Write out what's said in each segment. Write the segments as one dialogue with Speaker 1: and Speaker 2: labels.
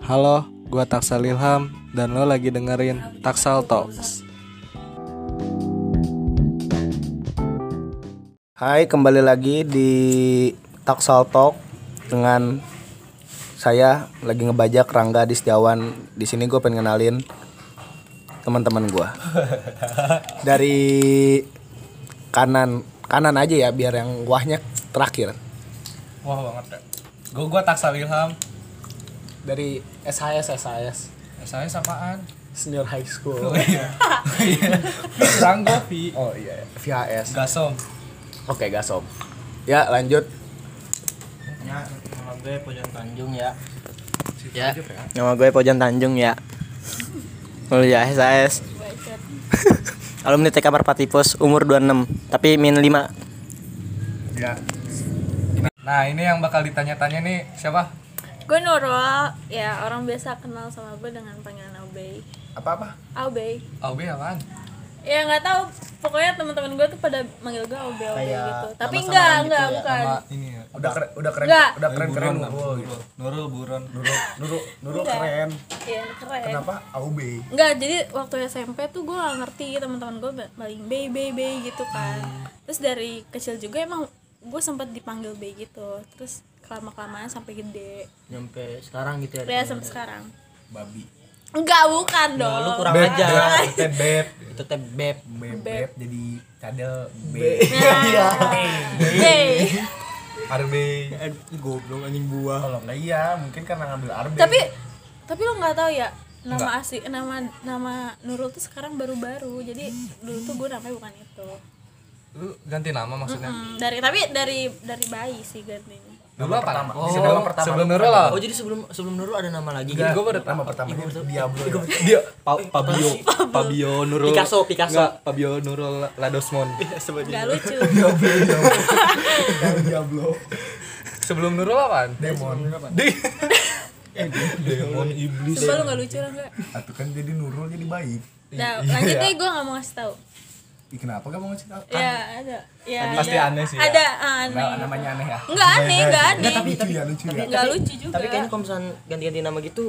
Speaker 1: Halo, gua Taksal Ilham dan lo lagi dengerin Taksal Talks.
Speaker 2: Hai, kembali lagi di Taksal Talk dengan saya lagi ngebajak Rangga di Setiawan. Di sini gue pengen kenalin teman-teman gue. Dari kanan kanan aja ya biar yang wahnya terakhir.
Speaker 3: Wah banget deh. Gue gua Taksal Ilham.
Speaker 2: Dari SHS SHS
Speaker 3: Saya sapaan.
Speaker 2: Senior High School.
Speaker 3: iya. Pirang gue Vi.
Speaker 2: Oh iya, VHS.
Speaker 3: Gasom.
Speaker 2: Oke, gasom. Ya, lanjut.
Speaker 3: Ya, nama gue Pojan Tanjung ya. Ya.
Speaker 4: Nama gue Pojan Tanjung ya. Kuliah SAS. Alumni TK Merpatipus umur 26, tapi min 5.
Speaker 3: Ya. Nah, ini yang bakal ditanya-tanya nih siapa?
Speaker 5: Gue Nurul, ya orang biasa kenal sama gue dengan panggilan Aubey.
Speaker 2: Apa-apa?
Speaker 5: Aubey.
Speaker 3: Aube apaan?
Speaker 5: Ya nggak tahu, pokoknya teman-teman gue tuh pada manggil gue Aubey Aubey
Speaker 2: Kayak
Speaker 5: gitu. Tapi enggak, enggak, bukan.
Speaker 3: Sama ini ya.
Speaker 2: Udah keren, udah keren,
Speaker 5: Nggak.
Speaker 2: udah keren-keren
Speaker 3: Buron,
Speaker 2: Nurul.
Speaker 3: Nurul, Nurul Buron.
Speaker 2: Nurul, Nurul
Speaker 5: Enggak.
Speaker 2: keren.
Speaker 5: Iya, keren.
Speaker 2: Kenapa? AUB.
Speaker 5: Enggak, jadi waktu SMP tuh gue gak ngerti teman-teman gue ba- paling Bey, Bey, Bey gitu kan.
Speaker 2: Hmm.
Speaker 5: Terus dari kecil juga emang gue sempet dipanggil Bey gitu. Terus kelama-kelamaan sampai gede.
Speaker 4: Nyampe sekarang gitu
Speaker 5: Udah sampai sekarang.
Speaker 2: Babi.
Speaker 5: Enggak, bukan dong.
Speaker 4: lu kurang
Speaker 2: Beb,
Speaker 4: aja.
Speaker 2: beb, teh beb,
Speaker 4: Itu teh beb.
Speaker 2: beb,
Speaker 5: Beb.
Speaker 2: beb, jadi cadel B,
Speaker 5: Iya. Bey.
Speaker 2: RB.
Speaker 4: Eh, Goblok anjing gua.
Speaker 2: Kalau enggak iya, mungkin karena ngambil RB.
Speaker 5: tapi tapi lo nggak tahu ya nama asli nama nama Nurul tuh sekarang baru-baru jadi dulu tuh gue namanya bukan itu
Speaker 3: Lu ganti nama
Speaker 2: Nah.
Speaker 3: maksudnya?
Speaker 5: Mm, dari tapi dari dari bayi sih gantinya
Speaker 3: Dulu apa?
Speaker 2: pertama.
Speaker 3: Oh,
Speaker 2: Sebelum pertama.
Speaker 3: sebelum Nurul lah.
Speaker 4: Oh, jadi sebelum sebelum Nurul ada nama lagi.
Speaker 2: Enggak,
Speaker 4: gitu.
Speaker 3: gue baru
Speaker 2: nama
Speaker 3: tahu.
Speaker 2: pertama itu Diablo. ya.
Speaker 3: Dia Pabio, Pabio Nurul.
Speaker 4: Picasso, Picasso.
Speaker 3: Nggak, Pabio Nurul Ladosmon.
Speaker 5: nggak lucu
Speaker 2: Diablo.
Speaker 3: Sebelum Nurul apaan?
Speaker 2: Demon.
Speaker 3: Demon iblis.
Speaker 5: coba lo nggak lucu lah nggak
Speaker 2: Iya. Atau kan jadi Nurul jadi baik.
Speaker 5: nah lanjut deh gue nggak mau ngasih tahu
Speaker 2: Ih, kenapa kamu ngasih tahu? Kan
Speaker 5: ya ada ya
Speaker 3: Pasti
Speaker 5: ada.
Speaker 3: aneh sih ya.
Speaker 5: ada ah, aneh
Speaker 2: Nah, namanya aneh ya.
Speaker 5: nggak aneh nggak aneh
Speaker 2: lucu ya, lucu ya.
Speaker 5: nggak lucu juga
Speaker 4: Tapi kayaknya kalau misalnya ganti-ganti nama gitu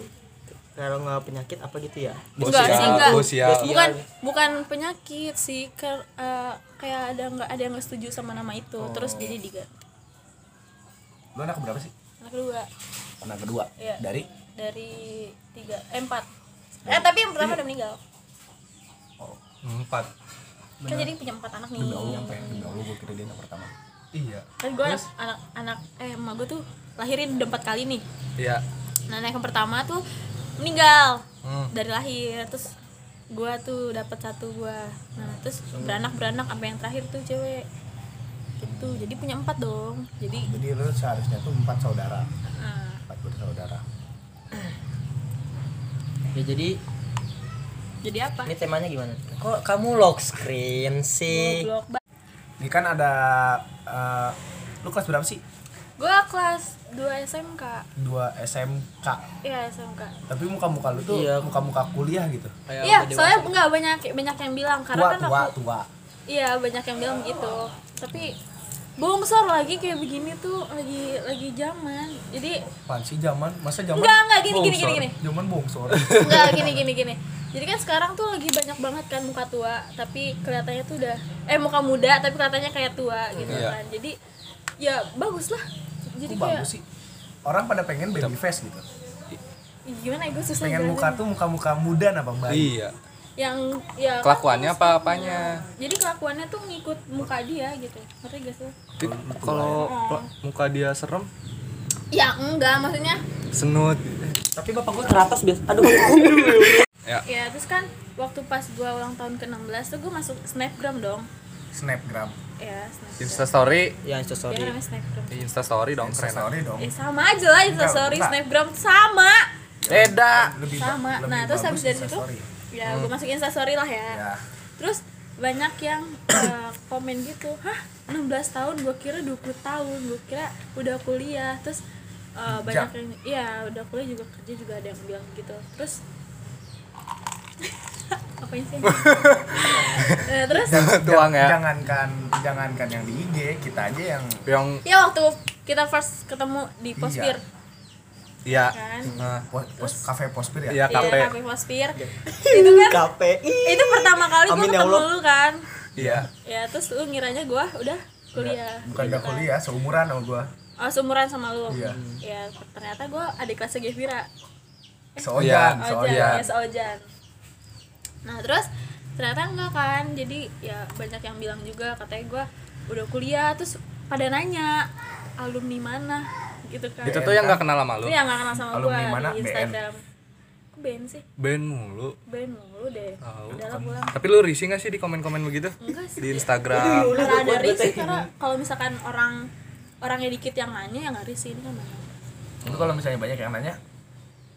Speaker 4: kalau nggak penyakit apa gitu ya.
Speaker 5: Enggak sih, enggak.
Speaker 3: Bosial.
Speaker 5: bukan bukan penyakit sih ker- eh, kayak ada nggak ada yang nggak setuju sama nama itu terus jadi diganti
Speaker 2: Oh. Lu anak berapa sih?
Speaker 5: anak kedua
Speaker 2: Anak kedua.
Speaker 5: Iya.
Speaker 2: Dari
Speaker 5: dari tiga eh, empat eh tapi
Speaker 2: Iya.
Speaker 5: yang pertama udah meninggal
Speaker 3: Empat.
Speaker 5: kan jadi punya empat anak nih
Speaker 2: demi Allah nyampe, demi Allah gue kira dia anak pertama.
Speaker 3: Iya.
Speaker 5: kan gue anak anak eh emak gue tuh lahirin udah empat kali nih
Speaker 3: Iya.
Speaker 5: nah anak yang pertama tuh meninggal
Speaker 3: Hmm.
Speaker 5: dari lahir terus gue tuh dapat satu gue nah terus beranak beranak sampai yang terakhir tuh cewek itu jadi punya empat dong jadi
Speaker 2: Jadi lu seharusnya tuh empat saudara,
Speaker 5: eh,
Speaker 2: empat bersaudara.
Speaker 4: Ya jadi
Speaker 5: jadi apa
Speaker 4: ini temanya gimana? Kok kamu lock screen sih?
Speaker 5: blok
Speaker 2: Ini kan ada eh, lu kelas berapa sih?
Speaker 5: gue kelas 2 SMK
Speaker 2: Dua SMK.
Speaker 5: iya SMK
Speaker 2: tapi muka-muka lu tuh
Speaker 4: Iya.
Speaker 2: muka-muka kuliah gitu
Speaker 4: Kayak
Speaker 5: iya
Speaker 4: udah dewasa.
Speaker 5: soalnya nggak banyak banyak yang bilang karena
Speaker 2: tua
Speaker 5: kan
Speaker 2: tua
Speaker 5: aku
Speaker 2: tua
Speaker 5: Iya banyak yang bilang gitu tapi bongsor lagi kayak begini tuh lagi lagi zaman jadi
Speaker 2: pan sih zaman masa zaman
Speaker 5: enggak enggak gini gini gini gini
Speaker 2: zaman bongsor
Speaker 5: enggak gini gini gini jadi kan sekarang tuh lagi banyak banget kan muka tua tapi kelihatannya tuh udah eh muka muda tapi kelihatannya kayak tua gitu kan jadi ya bagus lah
Speaker 2: itu
Speaker 5: jadi kayak
Speaker 2: Iya. bagus sih orang pada pengen baby face gitu
Speaker 5: gimana ya gue susah
Speaker 2: pengen
Speaker 5: jelasin.
Speaker 2: muka tuh muka-muka muda apa bayi
Speaker 3: Iya.
Speaker 5: yang ya kan
Speaker 3: Kelakuannya
Speaker 5: terus-
Speaker 3: apa apanya?
Speaker 5: jadi kelakuannya tuh ngikut muka dia gitu ngerti gak sih lo?
Speaker 3: Kalau kalau muka dia serem,
Speaker 5: ya enggak maksudnya
Speaker 3: senut.
Speaker 4: Tapi bapak gua teratas biasa. Aduh.
Speaker 5: Ya terus kan waktu pas gua ulang tahun ke-16 tuh gua masuk snapgram dong
Speaker 2: snapgram
Speaker 5: Ya snapgram
Speaker 3: Insta story,
Speaker 4: ya Insta
Speaker 5: Ya
Speaker 4: sorry.
Speaker 5: namanya snapgram
Speaker 3: Insta story dong keren.
Speaker 2: sorry dong
Speaker 5: Eh sama aja lah instastory,
Speaker 2: Iya. Enggak,
Speaker 5: snapgram sama
Speaker 3: Beda.
Speaker 2: lebih ba-
Speaker 5: Sama,
Speaker 2: lebih
Speaker 5: nah terus
Speaker 2: bagus
Speaker 5: habis dari situ
Speaker 2: Instastory.
Speaker 5: Ya gua masuk instastory lah ya,
Speaker 2: ya
Speaker 5: Terus banyak yang eh, komen gitu Hah 16 tahun gua kira 20 tahun Gua kira udah kuliah Terus eh, banyak yang Iya udah kuliah juga kerja juga ada yang bilang gitu Terus Apanya sih? Eh, terus
Speaker 3: Tuang ya.
Speaker 2: jangankan jangankan yang di IG kita aja yang
Speaker 3: Yang
Speaker 5: Ya waktu kita first ketemu di
Speaker 2: Iya.
Speaker 5: Pospir.
Speaker 3: Iya.
Speaker 5: kan
Speaker 3: Nah,
Speaker 2: Pos, pos kafe pospir ya?
Speaker 3: Iya
Speaker 5: Iya,
Speaker 3: kafe.
Speaker 5: kafe Hospir. itu kan
Speaker 4: KPI
Speaker 5: itu pertama kali gue
Speaker 4: Amin, ya
Speaker 5: ketemu
Speaker 4: Allah.
Speaker 5: lu kan.
Speaker 3: Iya.
Speaker 5: Ya terus lu ngiranya gue udah kuliah.
Speaker 2: Bukan
Speaker 5: gitu
Speaker 2: udah
Speaker 5: kan.
Speaker 2: kuliah, seumuran sama gua.
Speaker 5: Oh, seumuran sama lu.
Speaker 2: Iya.
Speaker 5: Ya, ternyata gue adik kelasnya Gevira.
Speaker 2: Seojan,
Speaker 3: Iya.
Speaker 5: Oh, Ojan,
Speaker 2: seojan.
Speaker 5: yes Ojan. Nah, terus ternyata enggak kan. Jadi ya banyak yang bilang juga katanya gue udah kuliah terus pada nanya alumni mana gitu kan.
Speaker 3: Itu tuh yang gak kenal sama lu.
Speaker 5: Itu yang gak kenal sama
Speaker 2: Alumni
Speaker 5: gue
Speaker 2: mana?
Speaker 5: di
Speaker 2: BN.
Speaker 5: Instagram. Kok BN sih?
Speaker 3: Band mulu.
Speaker 5: BN mulu deh.
Speaker 3: Tahu.
Speaker 5: Udah lah
Speaker 2: kan.
Speaker 5: pulang.
Speaker 3: Tapi lu risih gak sih di komen-komen begitu?
Speaker 5: Enggak sih.
Speaker 3: Di Instagram.
Speaker 5: Karena ada risih karena kalau misalkan orang orangnya dikit yang nanya ya nggak risih ini kan mana?
Speaker 2: Itu kalau misalnya banyak yang nanya,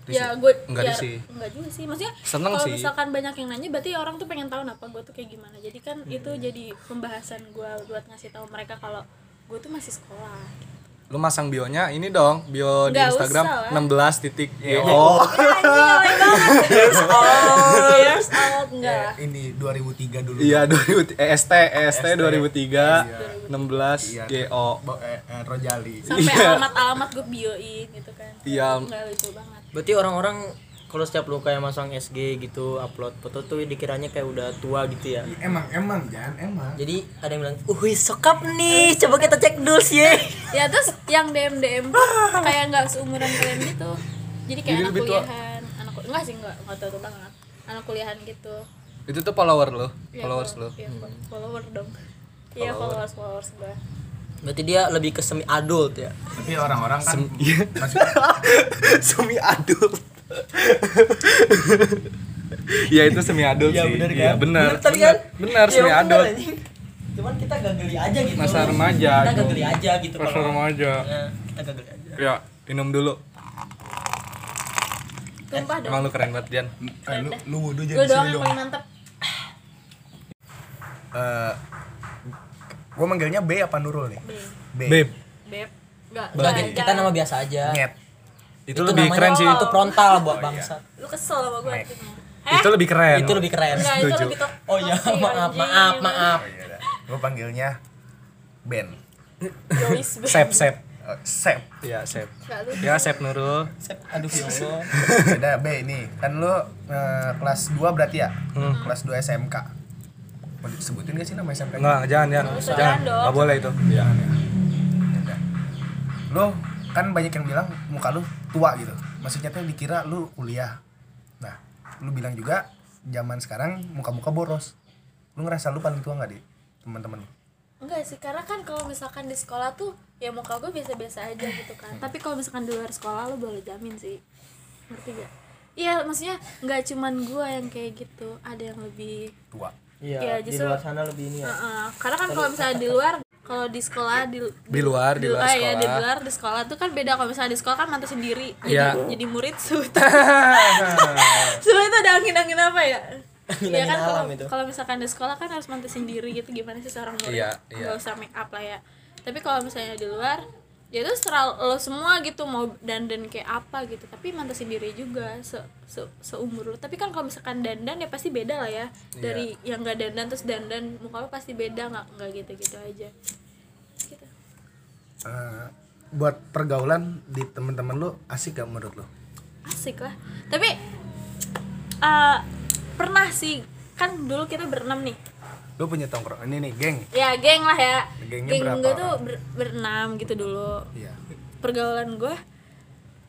Speaker 5: Ya gue
Speaker 3: Nggak
Speaker 5: ya,
Speaker 3: risih.
Speaker 5: Enggak juga sih. Maksudnya
Speaker 3: Seneng
Speaker 5: kalau
Speaker 3: sih.
Speaker 5: misalkan banyak yang nanya berarti orang tuh pengen tahu "Nah, apa gue tuh kayak gimana. Jadi kan
Speaker 3: Hmm.
Speaker 5: itu jadi pembahasan gue buat ngasih tahu mereka kalau gue tuh masih sekolah.
Speaker 3: Lu masang bionya ini dong, bio di
Speaker 5: Nggak
Speaker 3: Instagram
Speaker 5: usah lah.
Speaker 3: 16 titik.
Speaker 2: Oh,
Speaker 5: Years old. Years old enggak.
Speaker 2: ini 2003 dulu.
Speaker 3: Iya, 2000 EST, EST 2003, 16
Speaker 2: Iya.
Speaker 3: GO.
Speaker 2: Bo- eh, eh, Rojali.
Speaker 5: Sampai
Speaker 3: Iya.
Speaker 5: alamat-alamat gue bioin gitu kan.
Speaker 3: Iya.
Speaker 5: Enggak lucu banget.
Speaker 4: Berarti orang-orang kalau setiap lu kayak masang SG gitu upload foto tuh dikiranya kayak udah tua gitu ya.
Speaker 2: Emang, emang, Jan, emang.
Speaker 4: Jadi ada yang bilang, "Wih, sokap nih. Coba kita cek dulu sih."
Speaker 5: ya terus yang DM DM kayak nggak seumuran kalian gitu jadi kayak anak kuliahan anak ku- enggak sih enggak enggak tahu tuh banget anak kuliahan gitu
Speaker 3: Itu tuh follower lu,
Speaker 4: Iya.
Speaker 5: Ya,
Speaker 3: followers lu.
Speaker 5: follow- ya, fo- follower dong iya followers followers gua
Speaker 4: Eh, Berarti dia lebih ke semi adult ya.
Speaker 2: Tapi orang-orang kan masih
Speaker 4: semi adult.
Speaker 3: Iya, itu semi adult
Speaker 4: Iya,
Speaker 3: sih.
Speaker 4: bener kan?
Speaker 3: Iya, benar.
Speaker 4: tapi kan?
Speaker 3: Benar,
Speaker 4: Iya,
Speaker 3: semi
Speaker 4: bener,
Speaker 3: adult.
Speaker 4: anjing. Cuman kita gak geli aja gitu.
Speaker 3: Masa remaja,
Speaker 4: Kita gak
Speaker 3: Jung.
Speaker 4: geli aja gitu
Speaker 3: Masa remaja.
Speaker 4: Ya, kita gak geli aja.
Speaker 3: Ya, minum dulu.
Speaker 5: tumpah dong
Speaker 3: Emang lu keren banget, Jan.
Speaker 2: Eh, lu, lu wudhu jadi
Speaker 5: gua doang
Speaker 2: sini
Speaker 5: yang
Speaker 2: dong.
Speaker 5: paling mantep
Speaker 2: Eh, gua manggilnya B apa Nurul nih?
Speaker 5: Beb.
Speaker 2: B.
Speaker 3: Beb.
Speaker 5: beb enggak
Speaker 4: Enggak,
Speaker 5: enggak,
Speaker 4: kita
Speaker 5: jangan.
Speaker 4: nama biasa aja.
Speaker 2: Nyet.
Speaker 3: Iya, Itu, lebih
Speaker 4: namanya-
Speaker 3: keren sih.
Speaker 4: Itu frontal buat bangsa.
Speaker 5: lu kesel sama gua
Speaker 2: Mek.
Speaker 5: akhirnya.
Speaker 4: Eh?
Speaker 3: Itu lebih keren.
Speaker 4: Itu lebih keren.
Speaker 5: enggak itu lebih tok
Speaker 4: Oh iya,
Speaker 5: toksik,
Speaker 4: maaf,
Speaker 5: anjing.
Speaker 4: maaf, maaf.
Speaker 2: Oh, iya dah. Gua panggilnya Ben.
Speaker 5: Joyce beb.
Speaker 3: Sep, sep.
Speaker 2: Eh, Sep.
Speaker 3: Iya, sep.
Speaker 5: Enggak, lu-
Speaker 3: Ya, sep Nurul.
Speaker 4: Sep, Aduh ya Allah.
Speaker 2: Beda B nih. Kan lu eh, kelas 2 berarti ya? Kelas 2 SMK. Mau disebutin gak sih nama SMK?
Speaker 3: Enggak, jangan, jangan.
Speaker 5: Nggak usah.
Speaker 3: Jangan.
Speaker 5: Jangan dong.
Speaker 3: Enggak boleh itu. Iya.
Speaker 2: Yaudah. Lu kan banyak yang bilang muka lu tua gitu. Maksudnya tuh dikira lu kuliah. Nah, lu bilang juga zaman sekarang muka-muka boros. Lu ngerasa lu paling tua nggak di teman-teman? lu?
Speaker 5: Enggak sih, karena kan kalau misalkan di sekolah tuh ya muka gue biasa-biasa aja gitu kan. Tapi kalau misalkan di luar sekolah lo boleh jamin sih. Ngerti gak? Iya, maksudnya nggak cuman gue yang kayak gitu, ada yang lebih.
Speaker 2: Tua.
Speaker 4: Iya,
Speaker 5: Iya,
Speaker 4: di
Speaker 5: justru-
Speaker 4: luar sana lebih ini ya.
Speaker 5: Heeh. Karena kan kalau misalnya di luar, kalau di sekolah di
Speaker 3: Di luar, di luar
Speaker 5: ah, iya, di
Speaker 3: sekolah.
Speaker 5: luar di sekolah tuh kan beda kalau misalnya di sekolah kan mantu sendiri. Jadi
Speaker 3: Iya.
Speaker 5: jadi murid sultan. Sultan itu ada angin-angin apa ya?
Speaker 4: Angin-angin
Speaker 5: Iya kan kalau
Speaker 4: alam itu.
Speaker 5: kalau misalkan di sekolah kan harus mantu sendiri gitu gimana sih seorang murid
Speaker 3: Iya,
Speaker 5: nggak
Speaker 3: iya.
Speaker 5: usah make up lah ya tapi kalau misalnya di luar ya itu serah lo semua gitu mau dandan kayak apa gitu tapi mantu sendiri juga se, se- seumur lo tapi kan kalau misalkan dandan ya pasti beda lah ya
Speaker 4: Iya.
Speaker 5: dari yang gak dandan terus dandan muka lo pasti beda nggak nggak gitu gitu aja gitu.
Speaker 2: Eh, buat pergaulan di teman-teman lu asik gak menurut lu?
Speaker 5: asik lah tapi eh, pernah sih kan dulu kita berenam nih
Speaker 2: Lu punya tongkrong ini nih, geng.
Speaker 5: ya geng lah ya
Speaker 2: Gengnya
Speaker 5: geng
Speaker 2: berapa
Speaker 5: gue tuh ber- berenam gitu dulu
Speaker 2: Iya.
Speaker 5: pergaulan gue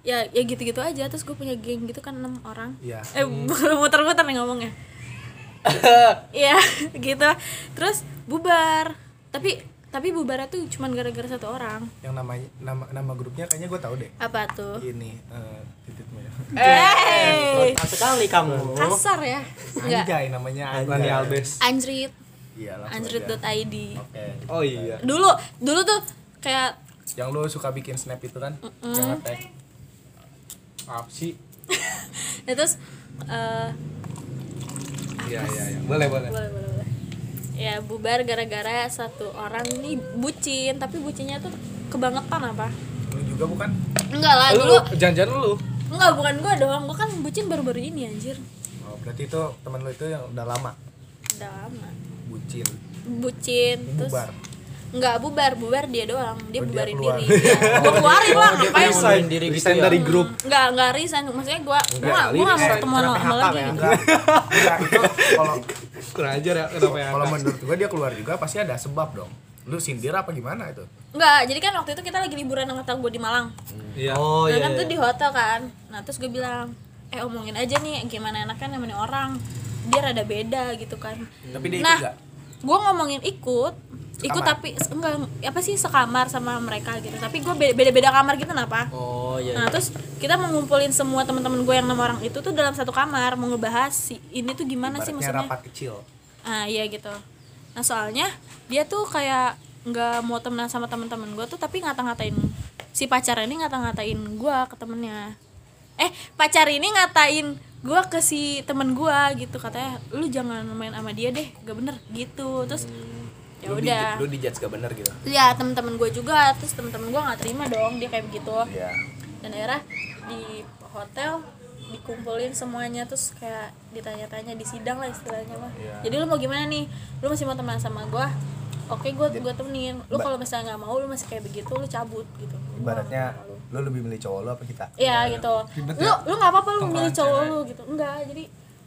Speaker 5: ya ya gitu-gitu aja terus gue punya geng gitu kan enam orang
Speaker 2: Iya.
Speaker 5: eh muter-muter nih ngomongnya Iya gitu terus bubar tapi tapi bubarnya tuh cuman gara-gara satu orang
Speaker 2: Yang namanya nama nama grupnya kayaknya gue tahu deh.
Speaker 5: apa tuh
Speaker 2: Ini eh titik merah.
Speaker 5: eh
Speaker 4: Frontal sekali kamu.
Speaker 5: kasar ya enggak
Speaker 2: Anjay Iya, namanya
Speaker 3: Nani
Speaker 2: Anjay.
Speaker 3: Albes.
Speaker 5: anjrit
Speaker 2: Iya, langsung aja.
Speaker 5: anjrit.id
Speaker 2: Oke.
Speaker 3: Oh iya.
Speaker 5: dulu dulu tuh kayak
Speaker 2: Yang lu suka bikin snap itu kan? Yang ngetek.
Speaker 3: Apa sih?
Speaker 5: ya terus eh,
Speaker 3: Iya, iya, iya. Boleh, boleh.
Speaker 5: boleh boleh boleh ya bubar gara-gara satu orang nih bucin tapi bucinnya tuh kebangetan apa
Speaker 2: Lu juga bukan?
Speaker 5: enggak lah
Speaker 3: Lu
Speaker 5: dulu
Speaker 3: janjian lu.
Speaker 5: enggak bukan gue doang gue kan bucin baru-baru ini anjir
Speaker 2: Oh, berarti itu teman lu itu yang udah lama
Speaker 5: udah lama
Speaker 2: bucin,
Speaker 5: bucin terus
Speaker 2: bubar.
Speaker 5: nggak bubar bubar dia doang dia
Speaker 4: Oh,
Speaker 5: bubarin diri ya. gue keluarin lah ngapain
Speaker 6: Resign diri gitu
Speaker 4: Resign
Speaker 6: ya.
Speaker 4: dari grup
Speaker 5: nggak nggak resign maksudnya gue gue nggak gue nggak mau ketemuan lo- sama lagi
Speaker 4: ya?
Speaker 7: Enggak, itu kalau
Speaker 3: Kurang ajar ya kenapa ya?
Speaker 7: kalau menurut gua dia keluar juga pasti ada sebab dong. Lu sindir apa gimana itu?
Speaker 5: nggak jadi kan waktu itu kita lagi liburan angkatan gue di Malang
Speaker 3: Iya.
Speaker 4: Oh
Speaker 5: nah,
Speaker 4: iya
Speaker 5: kan tuh di hotel kan nah terus gue bilang eh omongin aja nih gimana enaknya nemenin orang dia rada beda gitu kan
Speaker 7: Tapi dia ikut
Speaker 5: nah
Speaker 7: nggak?
Speaker 5: gue ngomongin ikut ikut tapi enggak apa sih sekamar sama mereka gitu tapi gue beda beda kamar gitu kenapa
Speaker 4: Oh iya
Speaker 5: Nah terus kita mau ngumpulin semua teman-teman gue yang enam orang itu tuh dalam satu kamar mau ngebahas si ini tuh gimana sih
Speaker 7: Ibaratnya
Speaker 5: maksudnya?
Speaker 7: rapat kecil.
Speaker 5: Ah iya gitu. Nah soalnya dia tuh kayak nggak mau temenan sama teman-teman gue tuh tapi ngata-ngatain si pacar ini ngata-ngatain gue ke temennya. Eh pacar ini ngatain gue ke si temen gue gitu katanya lu jangan main sama dia deh gak bener gitu terus ya
Speaker 7: Lu di-
Speaker 5: udah
Speaker 7: Lu dijudge gak bener gitu.
Speaker 5: ya teman-teman gue juga terus teman-teman gue nggak terima dong dia kayak begitu
Speaker 7: Iya.
Speaker 5: dan akhirnya di hotel dikumpulin semuanya terus kayak ditanya-tanya di sidang lah istilahnya mah
Speaker 4: Iya.
Speaker 5: jadi lu mau gimana nih lu masih mau teman sama gua oke gua gua temenin lu kalau misalnya nggak mau lu masih kayak begitu lu cabut gitu
Speaker 7: Ibaratnya lu lebih milih cowok lu apa kita?
Speaker 5: Iya gitu lu
Speaker 4: ya?
Speaker 5: lu nggak apa-apa lu milih cowok lu gitu enggak jadi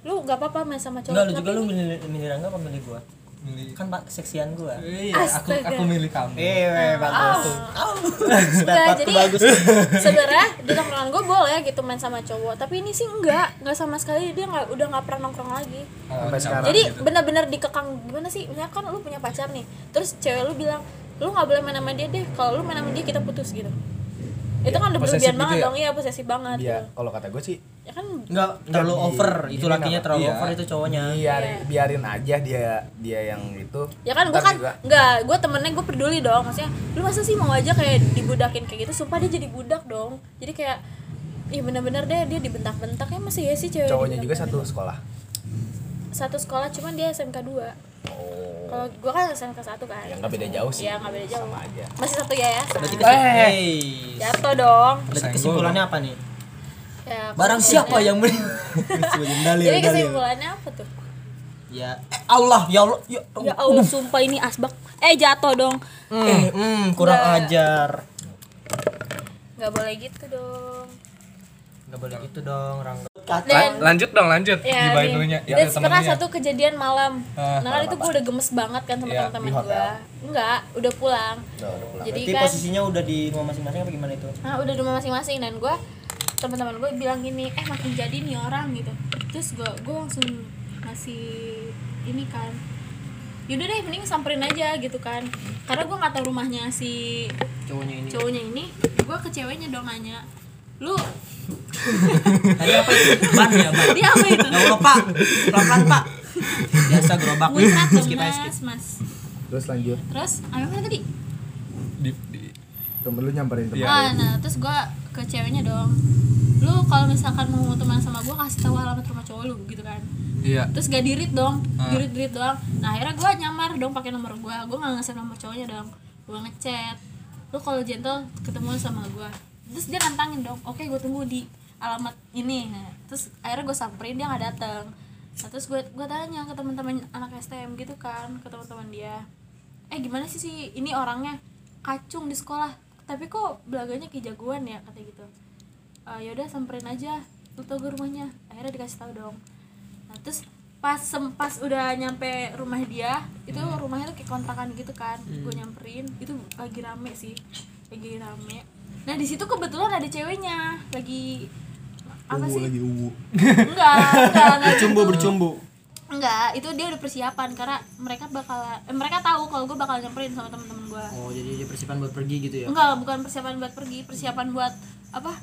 Speaker 5: lu nggak apa-apa main sama cowok
Speaker 4: Enggak lu
Speaker 5: tapi
Speaker 4: juga lu
Speaker 5: ini-
Speaker 4: milih milih Rangga apa milih gua?
Speaker 3: Milih.
Speaker 4: Kan pak seksian gua.
Speaker 3: Iya, aku
Speaker 5: Astaga.
Speaker 3: aku milih kamu.
Speaker 4: Eh, bagus.
Speaker 5: Ah. enggak jadi sebenarnya di nongkrongan gue boleh gitu main sama cowok tapi ini sih enggak enggak sama sekali dia nggak udah nggak pernah nongkrong lagi
Speaker 7: Sampai sekarang. gitu.
Speaker 5: jadi benar-benar dikekang gimana sih misalnya kan lu punya pacar nih terus cewek lu bilang lu nggak boleh main sama dia deh kalau lu main sama dia kita putus gitu itu kan udah berlebihan banget dong iya posesif banget
Speaker 7: gitu ya? Iya,
Speaker 5: gitu.
Speaker 7: kalau kata gue sih
Speaker 5: ya kan
Speaker 4: Enggak terlalu
Speaker 7: Tapi,
Speaker 4: over, itu
Speaker 7: gini
Speaker 4: lakinya
Speaker 7: kenapa?
Speaker 4: terlalu
Speaker 3: Iya.
Speaker 4: over itu cowoknya.
Speaker 7: biarin, biarin aja dia dia yang itu.
Speaker 5: ya kan gue
Speaker 7: Ntar
Speaker 5: kan
Speaker 7: juga.
Speaker 5: nggak gue temennya gue peduli dong maksudnya lu masa sih mau aja kayak dibudakin kayak gitu sumpah dia jadi budak dong jadi kayak Ih bener-bener deh dia dibentak-bentak ya masih ya sih cewek
Speaker 7: cowoknya juga
Speaker 5: dibentak-bentak.
Speaker 7: satu sekolah.
Speaker 5: satu sekolah cuman dia SMK 2
Speaker 7: Oh.
Speaker 5: kalau gue kan SMK 1 kan
Speaker 7: Ya nggak beda jauh sih.
Speaker 5: Iya, nggak beda jauh.
Speaker 7: Sama aja.
Speaker 5: masih satu ya yayasan
Speaker 4: Hey. Eh.
Speaker 5: jatuh dong
Speaker 4: Berarti kesimpulannya apa nih?
Speaker 5: ya,
Speaker 4: Barang ya, siapa yang men dalil,
Speaker 5: Jadi
Speaker 4: dalil.
Speaker 5: kesimpulannya apa tuh?
Speaker 4: Ya, eh, Allah, ya Allah, ya
Speaker 5: Ya Allah, sumpah ini asbak. Eh jatuh dong.
Speaker 4: Hmm, hmm, kurang
Speaker 5: Nggak.
Speaker 4: ajar.
Speaker 5: Gak boleh gitu dong.
Speaker 4: Enggak boleh gitu dong, Rangga.
Speaker 5: Dan
Speaker 3: Lanjut dong, lanjut.
Speaker 5: ya,
Speaker 3: Gibain
Speaker 5: nih.
Speaker 3: dulunya.
Speaker 5: dan
Speaker 3: ada
Speaker 5: pernah
Speaker 3: temennya.
Speaker 5: satu kejadian malam.
Speaker 3: Ah,
Speaker 5: nah kan itu gue udah gemes banget kan sama
Speaker 3: Iya,
Speaker 5: teman-teman
Speaker 7: di hotel.
Speaker 5: gue. Enggak, udah pulang.
Speaker 7: Udah, udah pulang.
Speaker 5: Jadi
Speaker 4: Berarti
Speaker 5: kan,
Speaker 4: posisinya udah di rumah masing-masing apa gimana itu?
Speaker 5: nah, udah di rumah masing-masing dan gue teman-teman gue bilang gini, eh makin jadi nih orang gitu. Terus gue gue langsung ngasih ini kan yaudah deh mending samperin aja gitu kan karena gue nggak tahu rumahnya si
Speaker 4: Cowoknya ini.
Speaker 5: cowoknya ini gue ke ceweknya dong nanya lu
Speaker 4: Tadi apa itu? Ban ya, ban.
Speaker 5: dia apa itu
Speaker 4: Ya Allah, Pak. Pelan-pelan, Pak. Biasa gerobak.
Speaker 5: muncrat dong
Speaker 4: Skip aja, skip.
Speaker 5: mas mas
Speaker 7: Terus lanjut,
Speaker 5: terus apa yang tadi
Speaker 3: di, di-
Speaker 7: temen lu nyamperin temen.
Speaker 5: ah, nah terus gue ke ceweknya dong lu kalau misalkan mau teman sama gue kasih tahu alamat rumah cowok lu gitu kan
Speaker 3: Iya.
Speaker 5: terus gak dirit dong dirit dirit doang nah akhirnya gue nyamar dong pakai nomor gue gue nggak ngasih nomor cowoknya dong gue ngechat lu kalau gentle ketemuan sama gue terus dia nantangin dong oke gue tunggu di alamat ini Nah, terus akhirnya gue samperin dia nggak datang nah, terus gue gue tanya ke teman-teman anak STM gitu kan ke teman-teman dia eh gimana sih si ini orangnya kacung di sekolah tapi kok belaganya kayak jagoan ya kata gitu "Eh, yaudah samperin aja lu tau gue rumahnya akhirnya dikasih tahu dong nah terus pas sempas udah nyampe rumah dia itu rumahnya tuh kayak kontrakan gitu kan gue nyamperin itu lagi rame sih lagi rame nah di situ kebetulan ada ceweknya lagi apa sih lagi enggak enggak bercumbu bercumbu enggak itu dia udah persiapan karena mereka bakal eh, mereka tahu kalau gue bakal nyamperin sama temen-temen gue
Speaker 4: Oh, jadi dia persiapan buat pergi gitu ya.
Speaker 5: enggak bukan persiapan buat pergi persiapan buat apa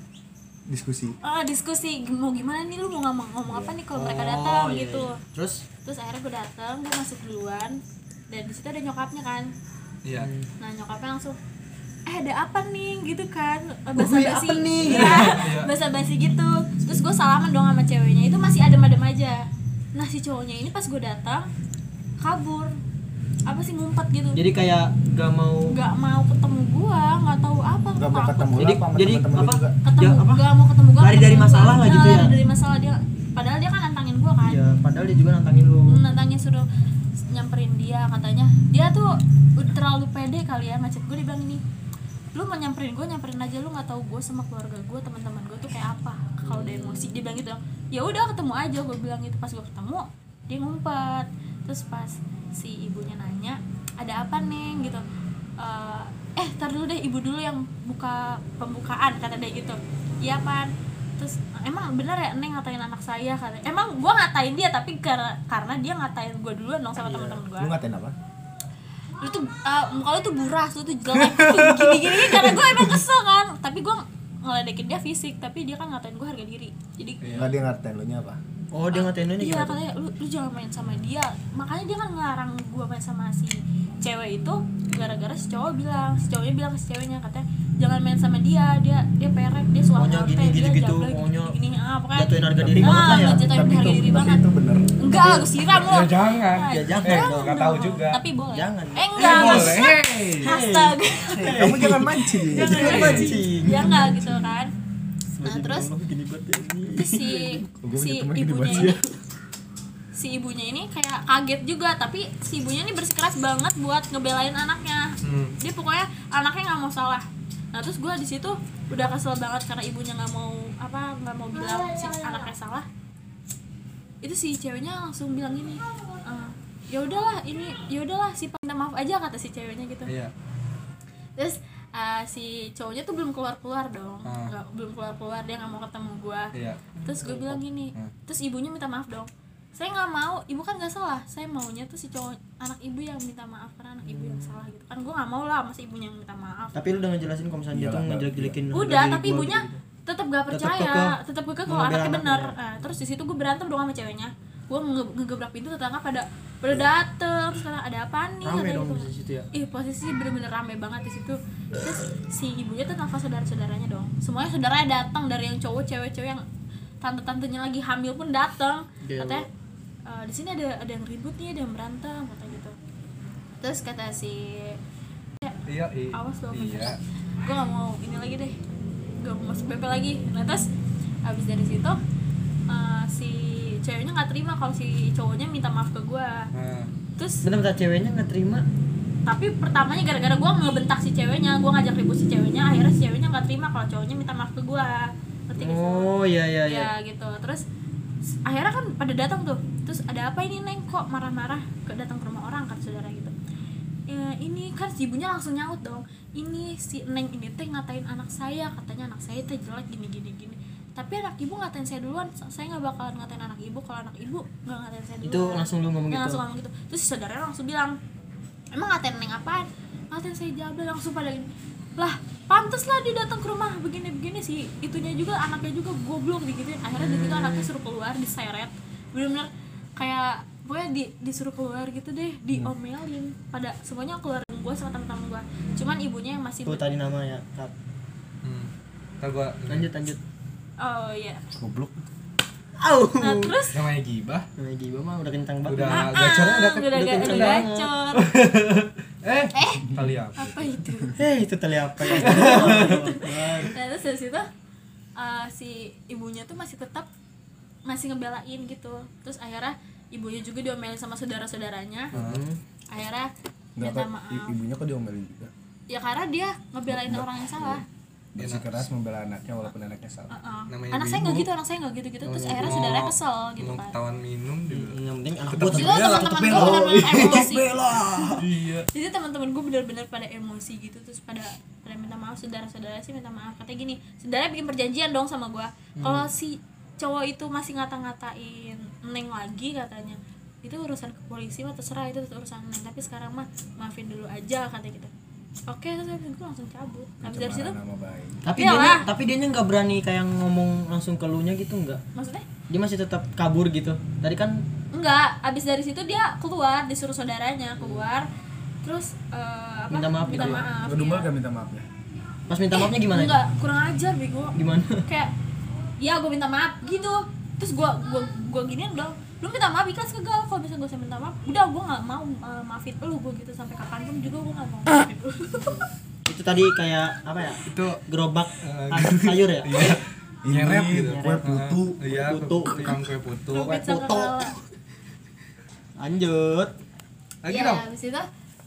Speaker 7: Diskusi.
Speaker 5: ah, diskusi mau gimana nih lu mau ngomong ngomong apa nih kalau mereka datang
Speaker 4: iya,
Speaker 5: gitu
Speaker 4: iya. Terus
Speaker 5: terus akhirnya gue datang gue masuk duluan dan di situ ada nyokapnya kan
Speaker 3: Iya.
Speaker 5: nah nyokapnya langsung eh ada apa nih gitu kan bahasa basi
Speaker 4: Oh, iya,
Speaker 5: Iya,
Speaker 4: apa nih?
Speaker 5: bahasa basi gitu terus gue salaman dong sama ceweknya itu masih adem-adem aja nah si cowoknya ini pas gue datang kabur apa sih ngumpet gitu
Speaker 4: jadi kayak gak mau
Speaker 5: nggak mau ketemu gua nggak tahu apa
Speaker 7: Gak mau
Speaker 5: takut.
Speaker 7: ketemu
Speaker 4: Jadi
Speaker 7: lah sama
Speaker 4: jadi
Speaker 7: temen-temen lu
Speaker 4: apa?
Speaker 7: juga.
Speaker 5: ketemu
Speaker 4: Ya, apa?
Speaker 5: nggak mau ketemu gua
Speaker 4: Lari dari
Speaker 5: ketemu
Speaker 4: masalah
Speaker 5: gua.
Speaker 4: lah gitu
Speaker 5: Nah,
Speaker 4: ya? Iya,
Speaker 5: lari dari masalah dia padahal dia kan nantangin gua kan
Speaker 4: Ya, padahal dia juga nantangin lu.
Speaker 5: nantangin suruh nyamperin dia katanya dia tuh udah terlalu pede kali ya macet gue dibilang ini lu mau nyamperin gue nyamperin aja lu nggak tahu gue sama keluarga gue teman-teman gue tuh kayak apa kalau udah emosi dia bilang gitu ya udah ketemu aja gue bilang gitu pas gue ketemu dia ngumpet terus pas si ibunya nanya ada apa neng gitu "Eh, eh tar dulu deh ibu dulu yang buka pembukaan kata dia gitu iya pan terus emang bener ya neng ngatain anak saya kata emang gue ngatain dia tapi karena karena dia ngatain gue duluan dong sama teman-teman gue
Speaker 7: Lu ngatain apa?
Speaker 5: lu tuh uh, muka lu tuh buras lu tuh jelek gini gini karena gue emang kesel kan tapi gue ngeledekin dia fisik tapi dia kan ngatain gue harga diri jadi
Speaker 2: Iya.
Speaker 7: Enggak dia ngatain lu nya apa?
Speaker 4: Oh dia ngatain lu nih
Speaker 5: iya
Speaker 4: gimana tuh?
Speaker 5: katanya lu, lu jangan main sama dia makanya dia kan ngelarang gue main sama si cewek itu gara-gara si cowok bilang si cowoknya bilang ke si ceweknya katanya jangan main sama dia dia dia perek dia suara
Speaker 4: Maunya
Speaker 5: HP,
Speaker 4: gini,
Speaker 5: dia
Speaker 4: gitu-gitu,
Speaker 5: jabla, gini,
Speaker 4: maunya
Speaker 5: gini, gini. Ah, pokoknya
Speaker 4: Jatuhin harga diri
Speaker 5: ah,
Speaker 4: banget lah ya.
Speaker 5: ngejatuhin harga diri banget
Speaker 4: gitu.
Speaker 7: itu bener.
Speaker 5: enggak gue siram lo
Speaker 3: Ya jangan.
Speaker 5: Ah,
Speaker 4: Ya jangan
Speaker 3: Eh,
Speaker 4: dong.
Speaker 3: nggak tahu juga.
Speaker 5: tapi boleh
Speaker 4: Jangan.
Speaker 5: eh enggak
Speaker 3: Boleh.
Speaker 5: astaga
Speaker 7: Kamu jangan mancing.
Speaker 3: Iya,
Speaker 5: jangan
Speaker 4: mancing.
Speaker 5: ya enggak gitu kan nah terus
Speaker 4: Ngomong gini banget ya ini.
Speaker 5: terus si
Speaker 3: Iya,
Speaker 5: si ibunya ini si ibunya ini kayak kaget juga tapi si ibunya ini bersikeras banget buat ngebelain anaknya
Speaker 3: Hmm.
Speaker 5: dia pokoknya anaknya nggak mau salah nah terus gue di situ udah kesel banget karena ibunya nggak mau apa nggak mau bilang si anaknya salah itu si ceweknya langsung bilang gini "Eh, ya udahlah ini ya udahlah si minta maaf aja kata si ceweknya gitu
Speaker 3: Iya.
Speaker 5: terus uh, si cowoknya tuh belum keluar keluar dong
Speaker 3: Ah.
Speaker 5: Nggak- belum keluar keluar dia nggak mau ketemu gua
Speaker 3: Iya.
Speaker 5: terus gue bilang gini
Speaker 3: Hmm.
Speaker 5: terus ibunya minta maaf dong saya nggak mau ibu kan nggak salah saya maunya tuh si cowok anak ibu yang minta maaf karena anak ibu yang salah gitu kan gue nggak mau lah masih ibunya yang minta maaf
Speaker 4: Tapi lu udah ngejelasin kalau misalnya dia tuh ngejelek-jelekin harga
Speaker 5: iya. udah
Speaker 4: diri
Speaker 5: tapi
Speaker 4: gua
Speaker 5: ibunya
Speaker 4: gitu.
Speaker 5: tetap gak
Speaker 4: Tetep
Speaker 5: percaya
Speaker 4: kekeh.
Speaker 5: tetap kekeh
Speaker 4: Mau
Speaker 5: kalau anaknya
Speaker 4: ngebela
Speaker 5: bener
Speaker 4: anaknya.
Speaker 5: Nah, terus di situ gue berantem dong sama ceweknya gue nge- ngegebrak pintu tetangga pada pada dateng terus kata ada apa nih
Speaker 4: Iya. Rame
Speaker 5: katanya
Speaker 4: dong
Speaker 5: gitu.
Speaker 4: di situ ya.
Speaker 5: Ih posisi bener-bener rame banget di situ. Terus si ibunya tuh nelfon saudara-saudaranya dong. Semuanya saudaranya datang dari yang cowok, cewek-cewek yang tante-tantenya lagi hamil pun datang.
Speaker 4: Dewa.
Speaker 5: Katanya e, di sini ada ada yang ribut nih, ada yang berantem kata gitu. Terus kata si
Speaker 3: Iya, i-
Speaker 5: awas lo
Speaker 3: Iya.
Speaker 5: gue gak mau ini lagi deh gak mau masuk PP lagi nah terus abis dari situ eh, si ceweknya nggak terima kalau si cowoknya minta maaf ke gue
Speaker 3: Nah,
Speaker 5: terus
Speaker 4: Bentar bentar ceweknya nggak terima.
Speaker 5: tapi pertamanya gara-gara gue ngebentak si ceweknya gue ngajak ribut si ceweknya akhirnya si ceweknya nggak terima kalau cowoknya minta maaf ke gue ngerti gak sih?
Speaker 4: Oh iya iya iya.
Speaker 5: ya gitu terus s- akhirnya kan pada datang tuh terus ada apa ini neng kok marah-marah ke datang ke rumah orang kan saudara gitu ya, ini kan si ibunya langsung nyaut dong ini si neng ini teh ngatain anak saya katanya anak saya teh jelek gini gini gini tapi anak ibu ngatain saya duluan sa- saya nggak bakalan ngatain anak ibu kalau anak ibu nggak ngatain saya duluan
Speaker 4: Itu langsung lu ngomong
Speaker 5: Ya,
Speaker 4: gitu.
Speaker 5: langsung ngomong gitu terus si saudaranya langsung bilang emang ngatain neng apaan ngatain saya jabla langsung pada gini lah pantes lah dia datang ke rumah begini begini sih itunya juga anaknya juga goblok digituin akhirnya dari itu anaknya suruh keluar diseret bener-bener kayak pokoknya di, disuruh keluar gitu deh
Speaker 4: Hmm.
Speaker 5: diomelin pada semuanya keluar gue sama temen-temen gue cuman ibunya yang masih
Speaker 4: Tuh tadi nama ya. Tat.
Speaker 3: hmm. Ntar gua
Speaker 4: Lanjut lanjut.
Speaker 5: oh iya
Speaker 7: Goblok.
Speaker 4: Au.
Speaker 5: nah terus
Speaker 3: namanya gibah.
Speaker 4: Namanya Giba mah udah kencang banget.
Speaker 3: Udah
Speaker 5: ah,
Speaker 3: gacornya udah
Speaker 5: udah,
Speaker 3: ke-
Speaker 5: udah,
Speaker 4: udah
Speaker 5: udah
Speaker 4: kenceng banget.
Speaker 5: gacor
Speaker 3: eh, kali apa?
Speaker 5: apa itu
Speaker 4: Hei, itu tali apa ya? Iya,
Speaker 5: nah terus dari situ eh, si ibunya tuh masih tetap masih ngebelain gitu terus akhirnya ibunya juga diomelin sama saudara saudaranya
Speaker 3: Hmm.
Speaker 5: akhirnya minta maaf
Speaker 7: ibunya kok diomelin juga.
Speaker 5: ya karena dia ngebelain orang yang salah
Speaker 3: Iya,
Speaker 7: Bersikeras membela anaknya walaupun anaknya salah.
Speaker 5: Heeh.
Speaker 3: Namanya
Speaker 5: anak
Speaker 3: ibu.
Speaker 5: saya nggak gitu anak saya nggak gitu gitu terus akhirnya saudara kesel gitu
Speaker 3: Minum
Speaker 5: kan
Speaker 3: ketahuan minum juga.
Speaker 4: Yang penting ah. anak buat
Speaker 5: Terus itu teman-teman gue bener-bener emosi
Speaker 3: Iya.
Speaker 5: jadi teman-teman gue benar-benar pada emosi gitu terus pada pada minta maaf saudara-saudara sih minta maaf katanya gini saudara bikin perjanjian dong sama gue
Speaker 4: Hmm.
Speaker 5: kalau si cowok itu masih ngata-ngatain neng lagi katanya itu urusan ke polisi mah terserah itu urusan neng tapi sekarang mah maafin dulu aja katanya gitu oke terus gue langsung cabut habis dari situ
Speaker 7: Nama baik.
Speaker 4: Tapi
Speaker 5: Iya
Speaker 4: dia
Speaker 5: lah.
Speaker 4: tapi dia nggak berani kayak ngomong langsung ke lu nya gitu enggak?
Speaker 5: maksudnya
Speaker 4: Dia masih tetap kabur gitu. Tadi kan
Speaker 5: enggak habis dari situ dia keluar disuruh saudaranya keluar terus eh, apa
Speaker 4: Minta maaf
Speaker 5: minta
Speaker 4: gitu ya?
Speaker 5: maaf
Speaker 7: Lu
Speaker 5: iya.
Speaker 7: dumel gak minta maafnya?
Speaker 4: pas minta maafnya gimana?
Speaker 5: enggak kurang ajar bego
Speaker 4: Gimana?
Speaker 5: kayak ya gue minta maaf gitu terus gue gua gua giniin dong lu minta maaf ikhlas ke gue kalau misalnya gue saya minta maaf udah gue nggak mau uh, maafin lu gue gitu sampai kapanpun juga gue nggak mau maafin lu
Speaker 4: Itu tadi kayak apa ya?
Speaker 3: Itu
Speaker 4: Gerobak
Speaker 3: Eh,
Speaker 4: anak sayur ya?
Speaker 3: nyerep gitu.
Speaker 7: kue putu.
Speaker 3: Heeh. Iya,
Speaker 4: Kue putu.
Speaker 5: Iya.
Speaker 3: tukang kue putu.
Speaker 5: Rumit sama
Speaker 4: foto.
Speaker 5: kepala.
Speaker 4: Lanjut.
Speaker 3: Lagi
Speaker 5: Iya,
Speaker 3: dong.
Speaker 5: abis itu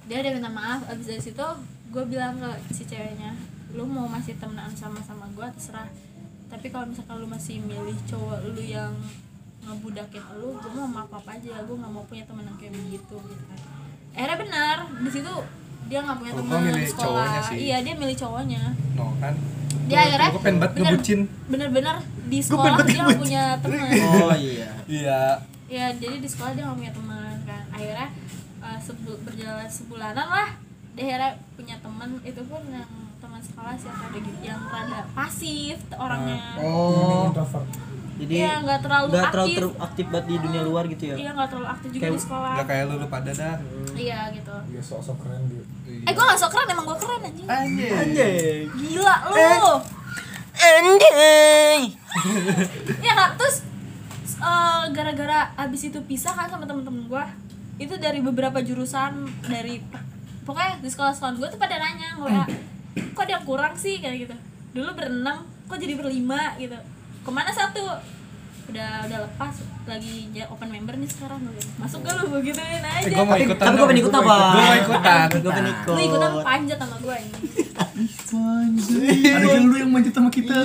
Speaker 5: dia udah minta maaf. Abis dari situ gue bilang ke si ceweknya, lu mau masih temenan sama sama gue terserah. Tapi kalau misalkan lu masih milih cowok lu yang ngebudakin lu, gue mau maaf apa aja. Gue nggak mau punya temen yang kayak begitu. Gitu. kan. Akhirnya benar, di situ dia nggak punya
Speaker 3: Oh,
Speaker 5: temen
Speaker 3: gua milih
Speaker 5: sekolah.
Speaker 3: cowoknya sih.
Speaker 5: Iya, dia milih cowoknya.
Speaker 3: No kan.
Speaker 5: Dia akhirnya
Speaker 3: gue pengen banget
Speaker 5: bener-
Speaker 3: ngebucin.
Speaker 5: Bener-bener di sekolah
Speaker 3: banget
Speaker 5: dia nggak punya temen.
Speaker 4: Oh iya.
Speaker 3: Iya.
Speaker 5: ya jadi di sekolah dia nggak punya teman kan akhirnya uh, sebu- berjalan sebulanan lah dia akhirnya punya teman itu pun yang teman sekolah sih yang rada gitu yang rada pasif t- orangnya
Speaker 4: Oh. Jadi
Speaker 5: Iya, nggak terlalu
Speaker 4: nggak terlalu
Speaker 5: aktif. Iya.
Speaker 4: ter- aktif banget di dunia luar gitu ya.
Speaker 5: dia nggak terlalu aktif juga
Speaker 4: Kayak-
Speaker 5: di sekolah
Speaker 3: Gak kayak lu lu pada dah.
Speaker 5: iya gitu
Speaker 3: Iya.
Speaker 5: eh gue nggak sok keren emang gue keren anjing
Speaker 4: Eh. Anjay.
Speaker 5: gila
Speaker 4: Eh.
Speaker 5: lu
Speaker 6: Anjing.
Speaker 5: ya kak terus eh, gara-gara abis itu pisah kan sama temen-temen gue itu dari beberapa jurusan dari pokoknya di sekolah-sekolah gue tuh pada nanya ngora kok ada yang kurang sih kayak gitu dulu berenang kok jadi berlima gitu kemana satu udah udah lepas lagi ja- open member nih sekarang gue gitu. masuk gak lu gue gituin aja
Speaker 3: Eh, gue mau ikutan.
Speaker 4: Tapi gue pengen ikut apa?
Speaker 3: Gue mau ikutan.
Speaker 4: Gue pengen ikut.
Speaker 5: lu ikutan panjat sama gue ini
Speaker 2: Ada yang lu yang manjat sama kita.